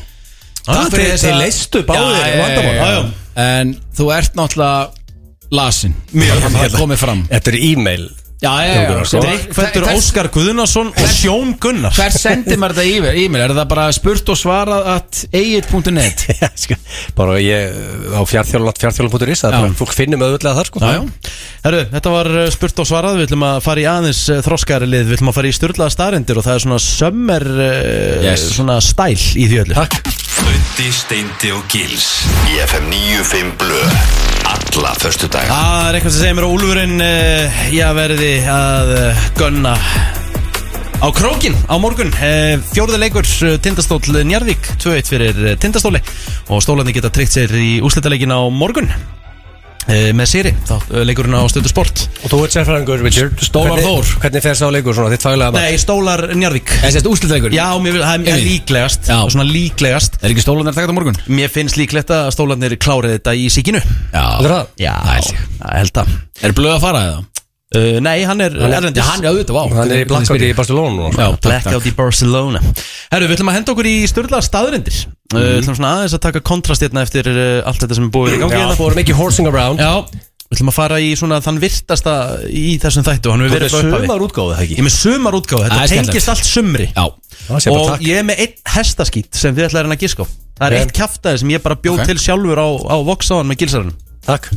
Ah, þeir- þeir leystu báðir
Já, já,
vandamál.
já, já.
Já, já.
En þú ert náttúrulega lasin Mjög Það komið fram
Þetta er e-mail
Já, já, já, já sko.
Drikkfættur Óskar Guðnason og Sjón Gunnar
Hver sendir maður þetta yfir? E-mail, er það bara spurt og svarað at eigit.net
sko. Bara ég á fjartþjólan fjartþjólan.is Það er bara fólk finnum auðvitað þar sko
Já, já
Herru, þetta var uh, spurt og svarað Við ætlum að fara í aðeins uh, þroskari lið Við ætlum að fara í styrlaða starindir Og það er svona sömmer uh,
Yes.
Svona stæl í því öllu Takk
Böndi, Steindi og Gils Í FM 95 Blö Alla förstu dag
Það er eitthvað sem segir mér að Úlfurinn uh, Já, verði að uh, gunna Á krókin á morgun uh, Fjórða leikur uh, Tindastóll Njarðvík 2-1 fyrir uh, Tindastóli Og stólandi geta tryggt sér í úslitaleikin á morgun uh, Með Siri Þá uh, leikurinn á stöðu sport
Og þú ert sérfræðingur, Richard
Stólar
Hvernig-
Þór.
Hvernig fer sá leikur svona, þitt faglega mat?
Nei, stólar Njarðvík
Það sést úrslitleikur
Já, mér, það er
Emil.
líklegast
Já.
Svona líklegast
Er ekki stólunar takkt á morgun?
Mér finnst líklegt að stólarnir klárið þetta í síkinu
Já
Heldur það?
Já,
held ég.
það held að
Er blöð að fara eða?
uh, Nei, hann er erlendis
Já, hann er auðvitað, vá
Hann er í Blackout í Barcelona núna sko.
Já, takk, takk
Blackout í Barcelona Herru, við ætlum að henda okkur í störla staðrendir Við
Mhm.
ætlum svona aðeins að taka kontrast hérna eftir uh, allt þetta sem er búið í gangi
Já,
hérna
fórum ekki horsing around
Já, við ætlum að fara í svona þann virtasta í þessum þættu Hann hefur verið frá upphafi
útgáðu það
Ég er með sumar útgáð,
Það
þetta
er skemmtilegt.
tengist allt sumri
Já
Það sé bara
Og
takk.
ég er með einn hestaskít sem við ætlaðum að gíska á Það er
Vel.
eitt kjaftaði sem ég bara bjóð
Ok.
til sjálfur á, á Voxáðan með gilsarunum
Takk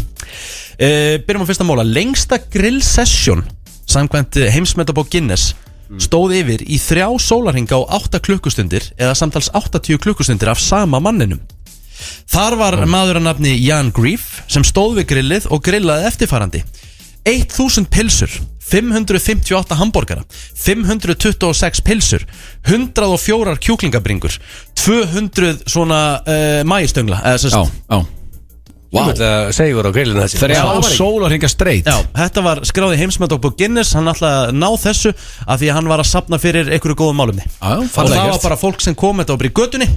Uh, byrjum á fyrsta móla Lengsta grill session Samkvæmt eh, heimsmetabók Guinness Stóð yfir í þrjá sólarhinga á 8 klukkustundir Eða samtals 80 klukkustundir af sama manninum Þar var maður að nafni Jan Grief Sem stóð við grillið og grillaði eftirfarandi 1000 pilsur 558 hambúrgara 526 pilsur 104 kjúklingabringur 200 svona uh, mægistöngla eh, eða, sest,
Já, já
Vá Segur á grillinu þessi
Þrjá
Það var ekki-
sól að ringa straitt
Já, þetta var skráði heimsmetabók Guinness Hann ætlaði að ná þessu af því að hann var að sapna fyrir einhverju góðum málumni
Já,
Og
fallega
það var
gert.
bara fólk sem kom þetta og bara í götunni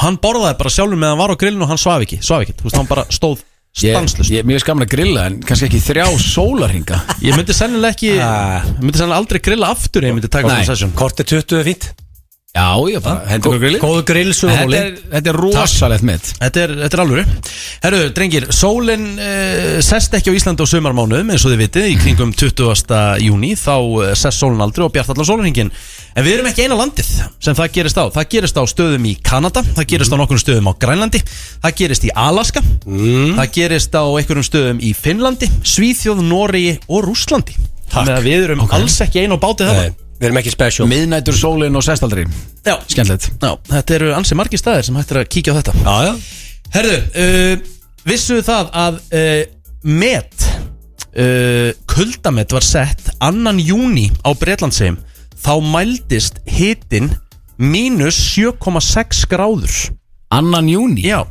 Hann borðaði bara sjálfur meðan hann var á grillinu og hann svaf ekki, svaf ekki Þú veist, hann bara stóð stanslust
Ég
ég,
er mjög skaman að grilla en kannski ekki þrjá sólarhinga
myndi sennilega ekki, ég myndi sennilega aldrei grilla aftur ef Ég myndi taka
Nei.
þessu sessjón
Kort er 20 er fínt
Já, já, bara hendur ykkur grilli
Góð grill
Þetta
sögumóli
er, þetta er rosalegt mitt
Þetta er, þetta er alvöru Herru, drengir, sólin uh, sest ekki á Íslandi á sömarmánuðum eins og þið vitið í kringum 20. júni þá eh, sest sólin aldrei og bjart allan sólinhingin en við erum ekki eina landið sem það gerist á það gerist á stöðum í Kanada það gerist á nokkrum stöðum á Grænlandi það gerist í Alaska það gerist á einhverjum stöðum í Finnlandi Svíþjóð, Noregi og Rúslandi þannig að við erum alls ekki eina á bátið það
Nei, Við erum ekki special
Miðnætur sólin og sestaldri
Já,
Skemmtilegt
Já, þetta eru ansi margir staðir sem hættir að kíkja á þetta
Já, já
Herðu, uh, vissuðu það að uh, met uh, kuldamet var sett annan júni á Bretlandsheim þá mældist hitin mínus 7,6 gráður
Annan júni
Já,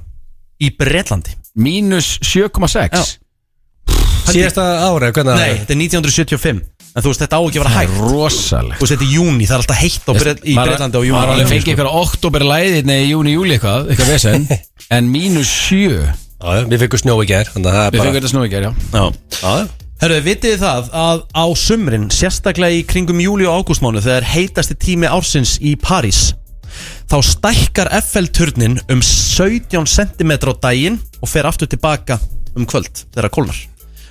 í Bretlandi
Mínus 7,6
Síðasta ára, hvernig
Nei, þetta er 1975 En þú veist, þetta á ekki að vera hægt
Rosalegt
Þú veist, þetta er júni, það er alltaf heitt á Bret í Bretlandi á júni
Maður alveg fengið eitthvað oktoberlæðið Nei, júni, júli eitthvað Eitthvað vesen En mínus 7
Já, já, Við fengum snjó í gær Þannig að það er
Við
bara
fengum þetta snúi gerð, já
Já
Já,
Herru, vitið þið það að á sumrin, sérstaklega í kringum júli og ágústmánu þegar heitasti tími ársins í París þá stækkar FL-turnin um 17 cm á daginn og fer aftur tilbaka um kvöld þegar það kólnar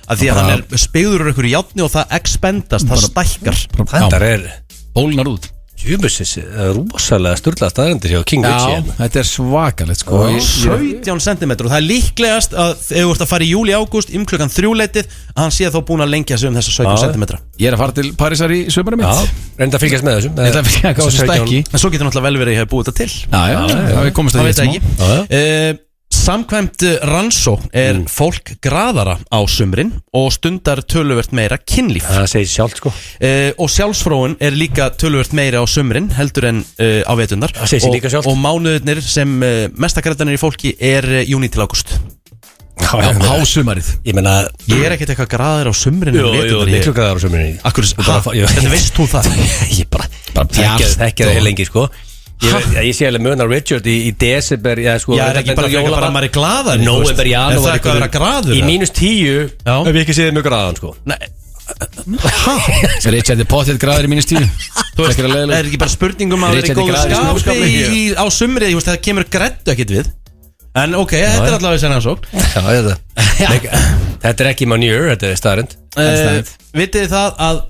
af því að hann er spegður úr ykkur í játni og það expendast, það stækkar
Þetta er
Bólnar út
Júbusins Rúsalega sturla staðarendir hjá King
Já,
hérna.
Richie hérna.
þetta er svakalegt sko Ég- ég-
17 cm og það er líklegast að ef þú ert að fara í júli og ágúst um klukkan þrjúleitið að hann sé þá búin að lengja sig um þessa 17
Já.
cm
Ég er að fara til Parísar í sömurinn mitt
Já, reynda að fylgjast með þessum
Ég ætla að finna hvað þessu stækki
en svo getur náttúrulega vel verið að ég hef búið þetta til
Já, já, já, við komumst að
Það
því
veit
smá.
það ekki uh, Samkvæmt eh, rannsókn er
Mm.
fólk graðara á sumrin og stundar töluvert meira kynlíf uh,
Það segir sjálf sko
og sjálfsfróun er líka töluvert meira á sumrin heldur en uh, á vetunar
Það segir sig
og,
líka sjálft.
og mánuðirnir sem uh, mestakrættanir í fólki er uh, júni til águst
Já, hásumarið
Ég meina
Ég
Mm.
er ekkert eitthvað graðar á sumrin
Jú, jú,
ég,
miklu græðar á sömurinn
Akkur, ha,
bara- ég-
hvernig veist þú það?
Ég bara Þekkja
bjart
þekkja
og-
það heil lengi sko Ég, veit- ég sé alveg munar Richard í, í December já, sko,
Ég er ekki bara frekar bara að maður er glaðar
Nóember, janúar
Er það eitthvað að vera graður?
Í mínus tíu
Já.
Hef ég ekki séð mjög graðan sko
Nei,
Richard er potið græður í mínus tíu
Þú veist,
Ekki að
það
leiðilega.
er ekki bara spurningum að það er í
Richard er
góðu
glaður í
skapi
snjóskapi.
í, í, á sumrið, þú veist, það kemur grættu ekkit við En ok, þetta er allavega sennan svo
Já, þetta Nei, Þetta er ekki manjur, þetta er starrend
uh, Vitið þið það að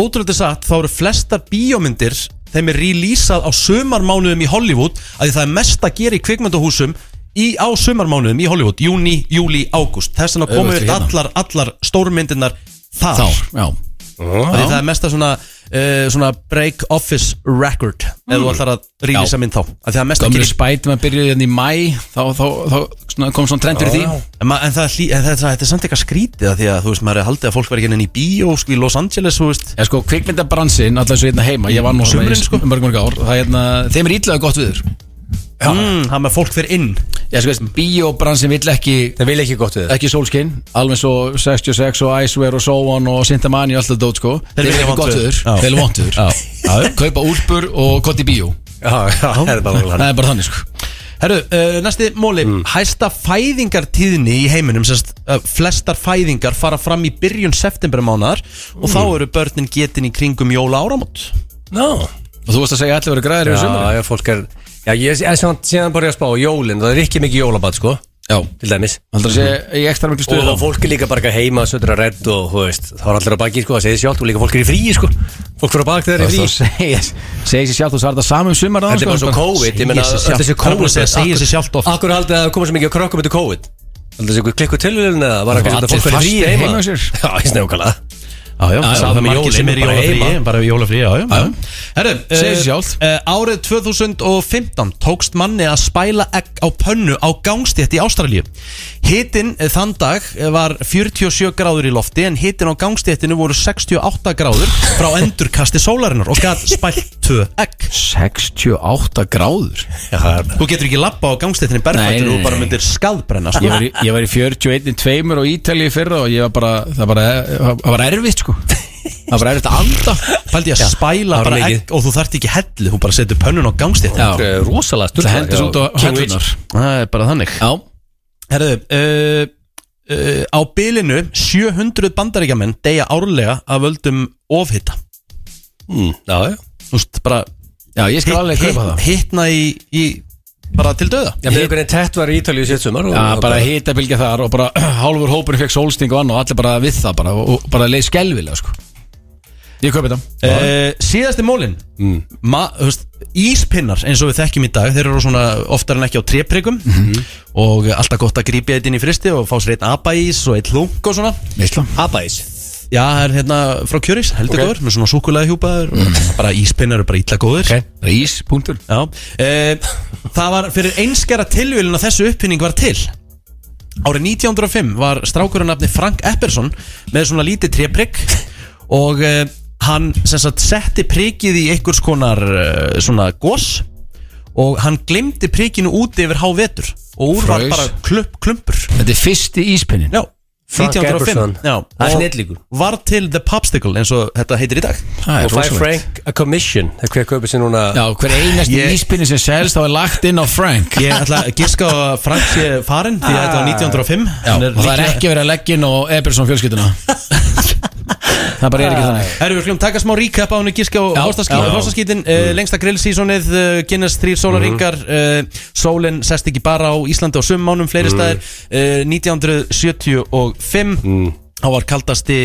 ótrúlega satt þá eru flesta bíómyndir þeim er releasað á sumarmánuðum í Hollywood að því það er mest að gera í kvikmyndahúsum í, á sumarmánuðum í Hollywood júni, júli, ágúst þess vegna komum
Auðvelt
við
hérna.
allar, allar stórmyndirnar þar
Þá, já
Af því það er mesta svona, uh, svona break office record mm. ef þú ætlar að releasa mynd þá Af því það er mest að
Gömri
gera í
spæt, maður byrjuði hérna í mæ Þá, þá, þá svona, kom svona trend fyrir því
En, ma- en, það, er hlý- en það, það, þetta er samt eitthvað skrítið að því að þú veist maður er haldið að fólk verði ekki inn í bíó sko, í Los Angeles, þú veist
Eða sko, kvikmyndabransin, alltaf eins og hérna heima Ég var nú svona í
Sumrin, sko.
mörg mörg ár Það er hérna, þeim er ítlaðu gott viður
mm, það með fólk fyrir inn
Já, sko, veist, bíóbransin vill ekki
Það vil ekki gott við þetta
ekki sólskinn, alveg svo 66 og Icewear og so on og Sintamani og alltaf dót sko
Þeir
þeir
vilja
vilja ekki
vont
gott
veður.
viður,
Já.
þeir vilja vont viður Já, kaupa úlpur og gott í bíó
Já, já, það er bara
það
hann
er bara þannig sko
Herru, uh, næsti móli Hæsta fæðingartíðni í heiminum sérst, uh, Flestar fæðingar fara fram í byrjun septembermánaðar Og þá eru börnin getin í kringum jóla áramót
no.
og þú veist að segja allir verið græðir yfir
Já,
sumar
já, fólk er Já, ég er samt síðan bara að spá á jólin Það er ekki mikið jólabat sko
Já,
Til dæmis
aldrei að segja í ekstra miklu
Og
stuð
og fólk er líka bara eitthvað heima Söndra redd og, þú veist Það er allir á baki sko Það segir sjálft Og líka fólk er í fríi sko Fólk fyrir á baki þegar
Það
þeir eru í
segja
fríi
segja sér sjálf þú sagði það sama um sumar
Þetta er bara svo COVID Ég meina,
sig
öll
sjálft.
þessi
Það er búin að
COVID
segja, segir sig sjálft oft.
Akkur haldið að það koma svo mikið á krökkum Þetta COVID Aldrei þessi klikku tilvíðin Eða var
Það
ekki
var
þetta fólk er
allir
í fríi
fastir
heima
heima hjá sér.
Já, ég snjókala
Já, já,
já,
það er
með
margir
jólin,
sem er í
bara
jólafríi
heima.
Bara í jólafríi, já, já, já. Herru,
Segir sig
eh,
sjálft.
eh, Árið 2015 tókst manni að spæla egg á pönnu á gangstétt í Ástralíu Hitin eh, þann dag var 47 gráður í lofti En hitin á gangstéttinu voru 68 gráður frá endurkasti sólarinnar Og gæt spælt tvö egg
68 gráður
Já, það er
Þú getur ekki lappa á gangstéttinni
Nei,
berfættur
nei,
og bara
nei.
myndir skadbrenna
Ég
sko.
var, í, ég var í 41 tveimur á Ítalíu í fyrra og ég var bara, það bara, það var erfitt sko Það var erfitt að anda
Pældi ég að spæla
það var
bara
mikið.
egg og þú þarft ekki hellu Þú bara setur pönnun á gangstéttinni
Já,
eh, rosalega
það
sturglað,
hendis
já.
út á
King
hendunar
Það er bara þannig
Já,
Herðu, uh, uh, á bylinu 700 bandaríkjamenn deyja árlega að völdum ofhita
Mm, Já, já
Þú veist, bara
já, ég skal alveg kaupa það
hittna í, í bara til döða
Já, með einhvern veginn tett var í Ítalíu sétt sumar og-
Já,
og-
bara hita bylgja þar og bara hálfur hópurinn fekk sólsting og annar og allir bara við það bara og, og bara leið skelvilega sko Ég kaupi það
Uh, síðasti mólin
Mm.
Ma, þú veist, Íspinnar eins og við þekkjum í dag Þeir eru svona oftar en ekki á tréprygum
Mhm.
Og alltaf gott að grípja þetta inn í fristi Og fá sér einn abaís og einn hlunk og svona
Veistla
Abæs
Já, það er hérna frá kjöris, heldur
Ok.
góður Með svona súkulega hjúpaður
Mm.
Bara íspinnar eru bara illa góður
Ok, rís, punktur
Já, e, það var fyrir einskjara tilvílun að þessu uppfinning var til Árið 1905 var strákurinn nafni Frank Epperson með svona lítið tréprygg og e, hann sem sagt setti prikið í einhvers konar e, svona gos og hann glemdi prikinu úti yfir hávetur og úr var
Fraus.
bara klump, klumpur
Þetta er fyrsti íspinnin
Já,
Frank
1905
Epperson.
Já,
Það er
og
snillingur.
Var til The Popsicle eins og þetta heitir í dag
Og
Það er
fæ
rosalegt
Frank a commission Það er hver kaupið sér núna
Já, hver einasti
Ég-
ég... íspinnin sem selst þá er lagt inn á Frank
Ég ætla að giska á að Frank sé farinn því að þetta var 1905
Já,
Hann
og það er
líklega-
ekki verið að leggja inn á Ebersson fjölskylduna Það bara er ekki þannig
Herru, við skulum taka smá recap á henni Gíska og
Já, já. Mm.
Hóstaskítin uh, Lengsta grillsísonið, uh, Guinness 3 sólaringar
Mhm.
mm Sólin sest ekki bara á Íslandi og summánum fleiri
Mm.
staðir uh, 1975
Mm.
Þá var kaldasti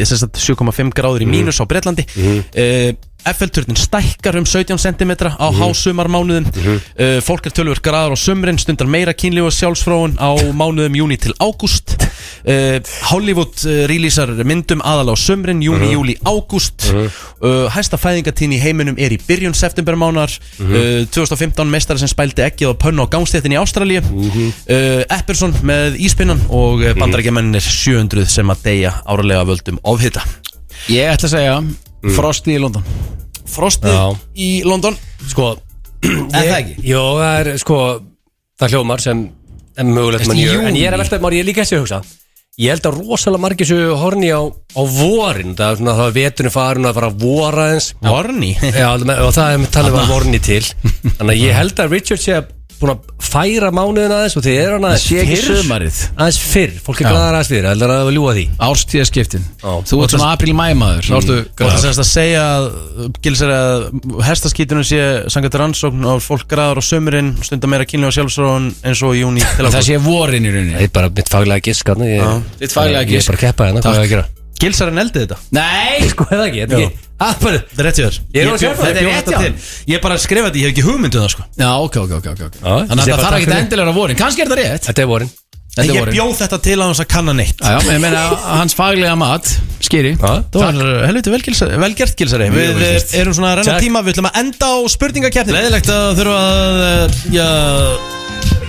uh, sem sagt, 7,5 gráður í mínus á Bretlandi mm. FL-turnin stækkar um 17 cm á mm. hásumarmánuðum
Mm.
uh, Fólk er tölvur graðar á sumrin Stundar meira kynlíf og sjálfsfróun á mánuðum júni til ágúst uh, Hollywood uh, releasar myndum aðal á sumrin Júni,
Mhm.
júli, ágúst uh, Hæsta fæðingatín í heiminum er í byrjun septembermánar
Mhm.
uh, 2015 meistari sem spældi ekki á pönnu á gangstéttin í Ástralíu
Mhm.
uh, Epperson með íspinnan og uh, bandarækjamennir 700 sem að deyja árlega völdum ofhita
Ég ætla að segja Frosti í London
Frostið
Já.
í London
Sko
Er það ekki?
Jó, það er sko Það hljómar sem En mögulegt mann ég En ég er að velta Már ég er líka þessi að hugsa Ég held að rosalega margir séu horni á, á vorin Það er svona það að veturinn farin að fara að vora eins
Orni
Já, og það er talið var vorni til Þannig að ég held að Richard sé að búin að færa mánuðin aðeins og þið er hann aðeins
sé ekki
fyrr
sumarið.
aðeins fyrr, fólk er glæðar aðeins fyrr heldur að það var ljúa því
Árstíðaskiptin
Já. Mm.
Þú ert svona april-mæmaður Þá ertu
Og það
gráður.
semst að segja að Gilsar að hestaskítunum sé sangat rannsókn og fólk graðar á sömurinn stundar meira kynlega sjálfsróðun eins og í júni til
Það
ákvöld
sé vorin í rauninni
Það er bara mitt faglega gisk hann ég,
Þitt faglega
Ég
gisk.
er bara að keppa hérna, hvað er að gera
Gilsar er neldið þetta
Nei
Sko, er það ekki, er það ekki Ah, bara-
Þetta er rétt hjá þér
Ég er alveg
bjó-
sérfræðingur.
þetta
Þetta er
bjó-
rétt
þetta til. Ég er bara að skrifa þetta, ég hef ekki hugmynduð það sko
Já, ok, ok, ok, ok, ok.
Já, ég
Þannig
sé
að það
bara
þarf
takk
ekki
fyrir.
endilega að vera vorin Kannski er það rétt
Þetta er vorin
Þetta er
Ég
vorin Já,
bjóð þetta til að hans að kanna neitt
já, ég meina hans faglega mat Skýri
Já.
Það var helviti vel, Gilsar- vel gert Gilsari Við eh, erum svona að renna
Takk.
tíma, við ætlum að enda á spurningakeppni Leðilegt að þurfa að eh, já,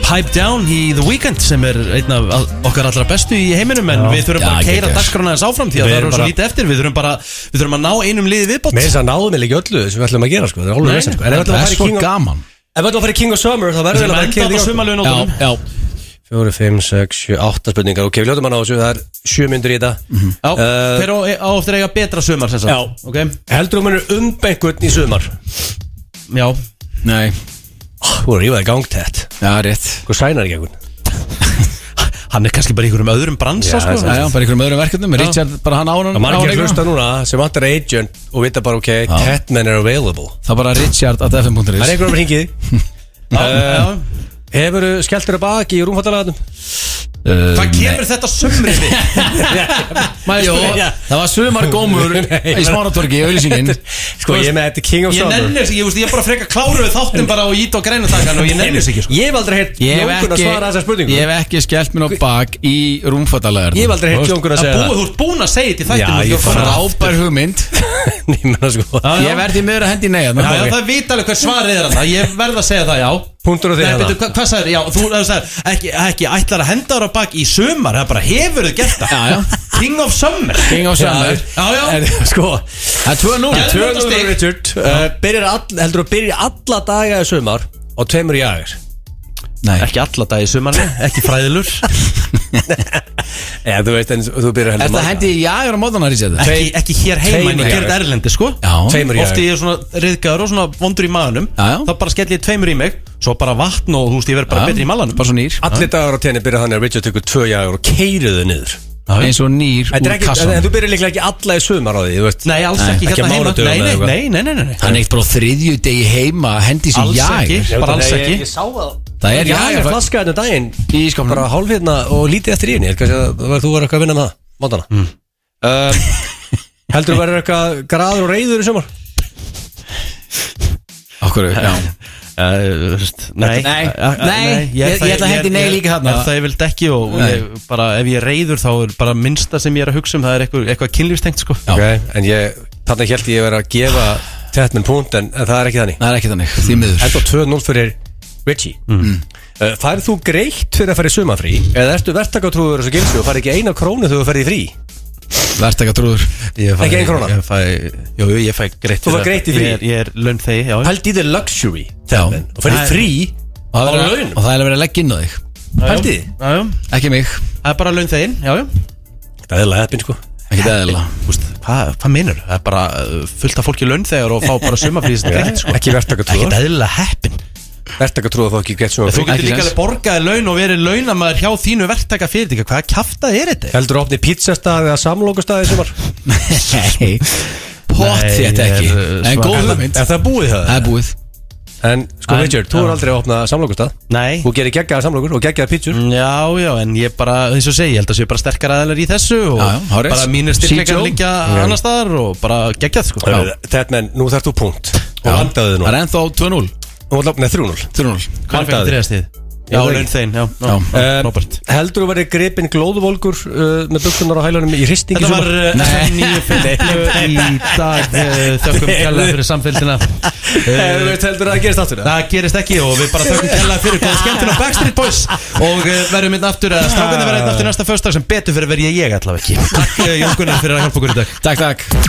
pipe down í The Weeknd sem er einn af all- okkar allra bestu í heiminum en við þurfum
Já,
bara að keira
geggjað.
dagskrána þess áfram því að
Við
það
erum
eru svo
bara-
lítið eftir við þurfum bara, við þurfum að ná einum liði viðbót
Mér finnst að náðum við líka öllu sem við ætlum að gera sko Það er hálfur vesen sko En ef við ætlum
Það
að
er
fara í
svo
King of-
gaman
ef við ætlum að fara í King of Summer þá verður
Við
við
þurfum að
að fara í
enda þetta sumalögun á
King of Summer
Já, já
4, 5, 6, 7, 8 spurningar Ok, við ljóðum hann á þessu, það er 7 myndur í þetta
Já,
Eh,
hver á, á eftir að eiga betra sumar sem sagt
Já.
Ok,
Heldur þú munur umbengun í sumar?
já
Nei,
Þú er ívæði gangtett
já, rétt
Hvað sænar ekki einhvern?
Hann er kannski bara í einhverjum öðrum bransa
Já,
sko.
það
Já, já, bara einhverjum öðrum verkefnum Richard, bara hann
Það er
ára
margir að hlusta núna sem vantar agent og vita bara ok, Catman er available
Það bara Richard at fm.is
Það er einhverjum hringið Um,
já, já.
Hefur þú skellt þér að baki í rúmfattalagatnum?
Eh,
Hvað kemur þetta sumrið við?
Jó, það var sumar gómur í smáratorki, auðlýsingin
Sko ég er með þetta King of
Ég
Summer
nenni sko. þessi, ég, veist, ég er bara frekar kláruð þáttin bara og ít og græna takkan og ég nenni þessi ekki sko.
Ég hef aldrei heyrt
Ég hef
Jónkun að
ekki,
svara þessar spurningu
ég hef ekki skellt minn á bak í rúmfattalegar
Ég hef aldrei heyrt Jónkun að
Það
segja
búið, þú ert búin að segja þetta í
Já,
þættinum þú
ég
ert búin að-
Frábær hugmynd
það Ég menna sko
Ég verði meður að hendi neyja
Já, já, það er vitalið hvað svarið er þarna Ég verð að segja það, já
Punktur hérna. og
Nei,
þegar
betur, hva, hvað sagður, já, þú það sagður ekki, ekki ætlar að henda ára bak í sumar það bara hefur þið gert það
Já, já.
King of Summer
King of Summer.
Já, já,
En, sko,
Það er 2-0
Já,
tvöðum
stig.
stig Richard uh, byrjar all, heldur að byrja alla daga í sumar og tveimur í aðeins
Nei,
Ekki alla dag í sumar, ekki fræðilur
Já, þú veist, en þú byrjar
er
heldur
það hendi í jagur á móðan að rísja þetta?
ekki, ekki hér
tveimur
heima, en ég
í
gerði
aðeins.
þetta erlendi, sko
Já.
Tveimur í
Oft
aðeins
ég er svona riðgæður og svona vondur í maðunum
Já, já.
Þá bara skelli ég tveimur í mig Svo bara vatn og þú veist, ég verð bara
Já,
betri í malanum
Bara svo nýr
Allir dagar á tenni byrja þannig að Richard tekur tvö jagur og keiriðu niður
Eins og nýr
Þetta er
úr
ekki, en, en
kassan
þú byrjar líklega ekki alla í sumar á því, þú veist
Nei, alls
Nei,
ekki
ekki á
hérna heima
mánudögum
Nei,
eða
nei,
eitthvað.
nei, nei, nei, nei.
Hann er ekkert bara á þriðju degi heima að hendi sér
Alls
jagur
ekki, bara alls ekki
sá það
Það er
Já, ég
jagur
flaska þetta daginn
Í ísskápnum.
Bara hálf hérna og lítið eftir í henni Ég held kannski að það var- Þú var eitthvað að vinna með það Mótana mm. Heldur þú verður eitthvað graður og reyður í sumar?
Okkur, já
Uh, veist, Nei,
Nei,
Uh,
nei, ég- ég ætla að hendi nei
ég-
líka þarna.
er Það ég vilt ekki og og ég, bara ef ég er reyður þá er bara minnsta sem ég er að hugsa um það er eitthvað, eitthvað kynlífstengt sko
Ok, en ég Þannig held ég verið að gefa Tettmenn punkt en, en það er ekki þannig
Það er ekki þannig, því miður
Heldur 2-0 fyrir Richie mm. uh, Færð þú greitt fyrir að fara í sumafrí Eða ertu verktakatrúður og svo gilsu Og færð ekki eina krónu þegar þú ferð í frí
Verstaka trúður
ég
Ekki ein króna?
Ég fæ, jú, jú, ég fæ greitt
Þú fær
fyrir-
greitt í frí?
Ég er, ég er laun þegi, já
Pældi í þið luxury
Já.
Tettmenn Og ferð í frí
Og það er
Á
verið-
launum.
og það er verið að leggja inn á þig
Pældi þið
Já, já,
Ekki mig,
það er bara laun þegin, já, já
Það er laðið sko
ekki eðla
Úst, Hvað hva meinar? Það er bara uh, fullt af fólki laun þegar og fá bara sumafrísin greitt sko
Ekki verktakatrúður
Ekkert eðlilega heppin
Verktakatrúður þá ekki greitt sumafrí
Þú getur
Ekki
líka
séns.
alveg borgaði laun og verið launamaður hjá þínu verktaka fyrirtæka Hvaða kjaftað er þetta?
Heldur þú opni pítsastað eða samlókustað í sumar?
Nei, pott
Nei,
þetta
ég er,
ekki
uh,
En
svaka-
góð
Er
hugmynd
Er það búið það?
Það er búið
En sko
En-
Richard, þú er
Já.
aldrei að opna samlókustað
Nei
Þú gerir geggjaða samlókur og geggjaða pítsur
Já, já, en ég bara, eins og segi, ég held að séu bara sterkar aðeinar í þessu og
Já, já, hárrétt.
bara mínir
Sítjó.
styrkleikar liggja
Já.
annar staðar og bara geggjað, sko.
Þetta menn, nú þarf þú punkt Og vandaðu þið
Það
nú
er ennþá 2-0
Þú ætla að opna 3-0
3-0
Hvað fækir
vandaði.
þriðast þið? Já,
veit
laun þein, já, já,
Já.
já,
Eh,
Robert.
Heldur þú verið gripinn glóðvolgur uh, með buksunar á hælunum í ristingi
Þetta var eh,
Nei.
nýju fyrir í dag, eh, þökkum kjalla fyrir samfélgina.
Þú veist Eh, heldur það að gerast aftur
Það gerist ekki og við bara þökkum kjalla fyrir góða skemmtun á Backstreet Boys og eh, verðum hérna aftur, eða strákarnir verða hérna aftur næsta föstdag sem betur fyrir verð ég ég allavega ekki. Takk eh, Jón Gunnar fyrir að hjálpa okkur í dag.
Takk, takk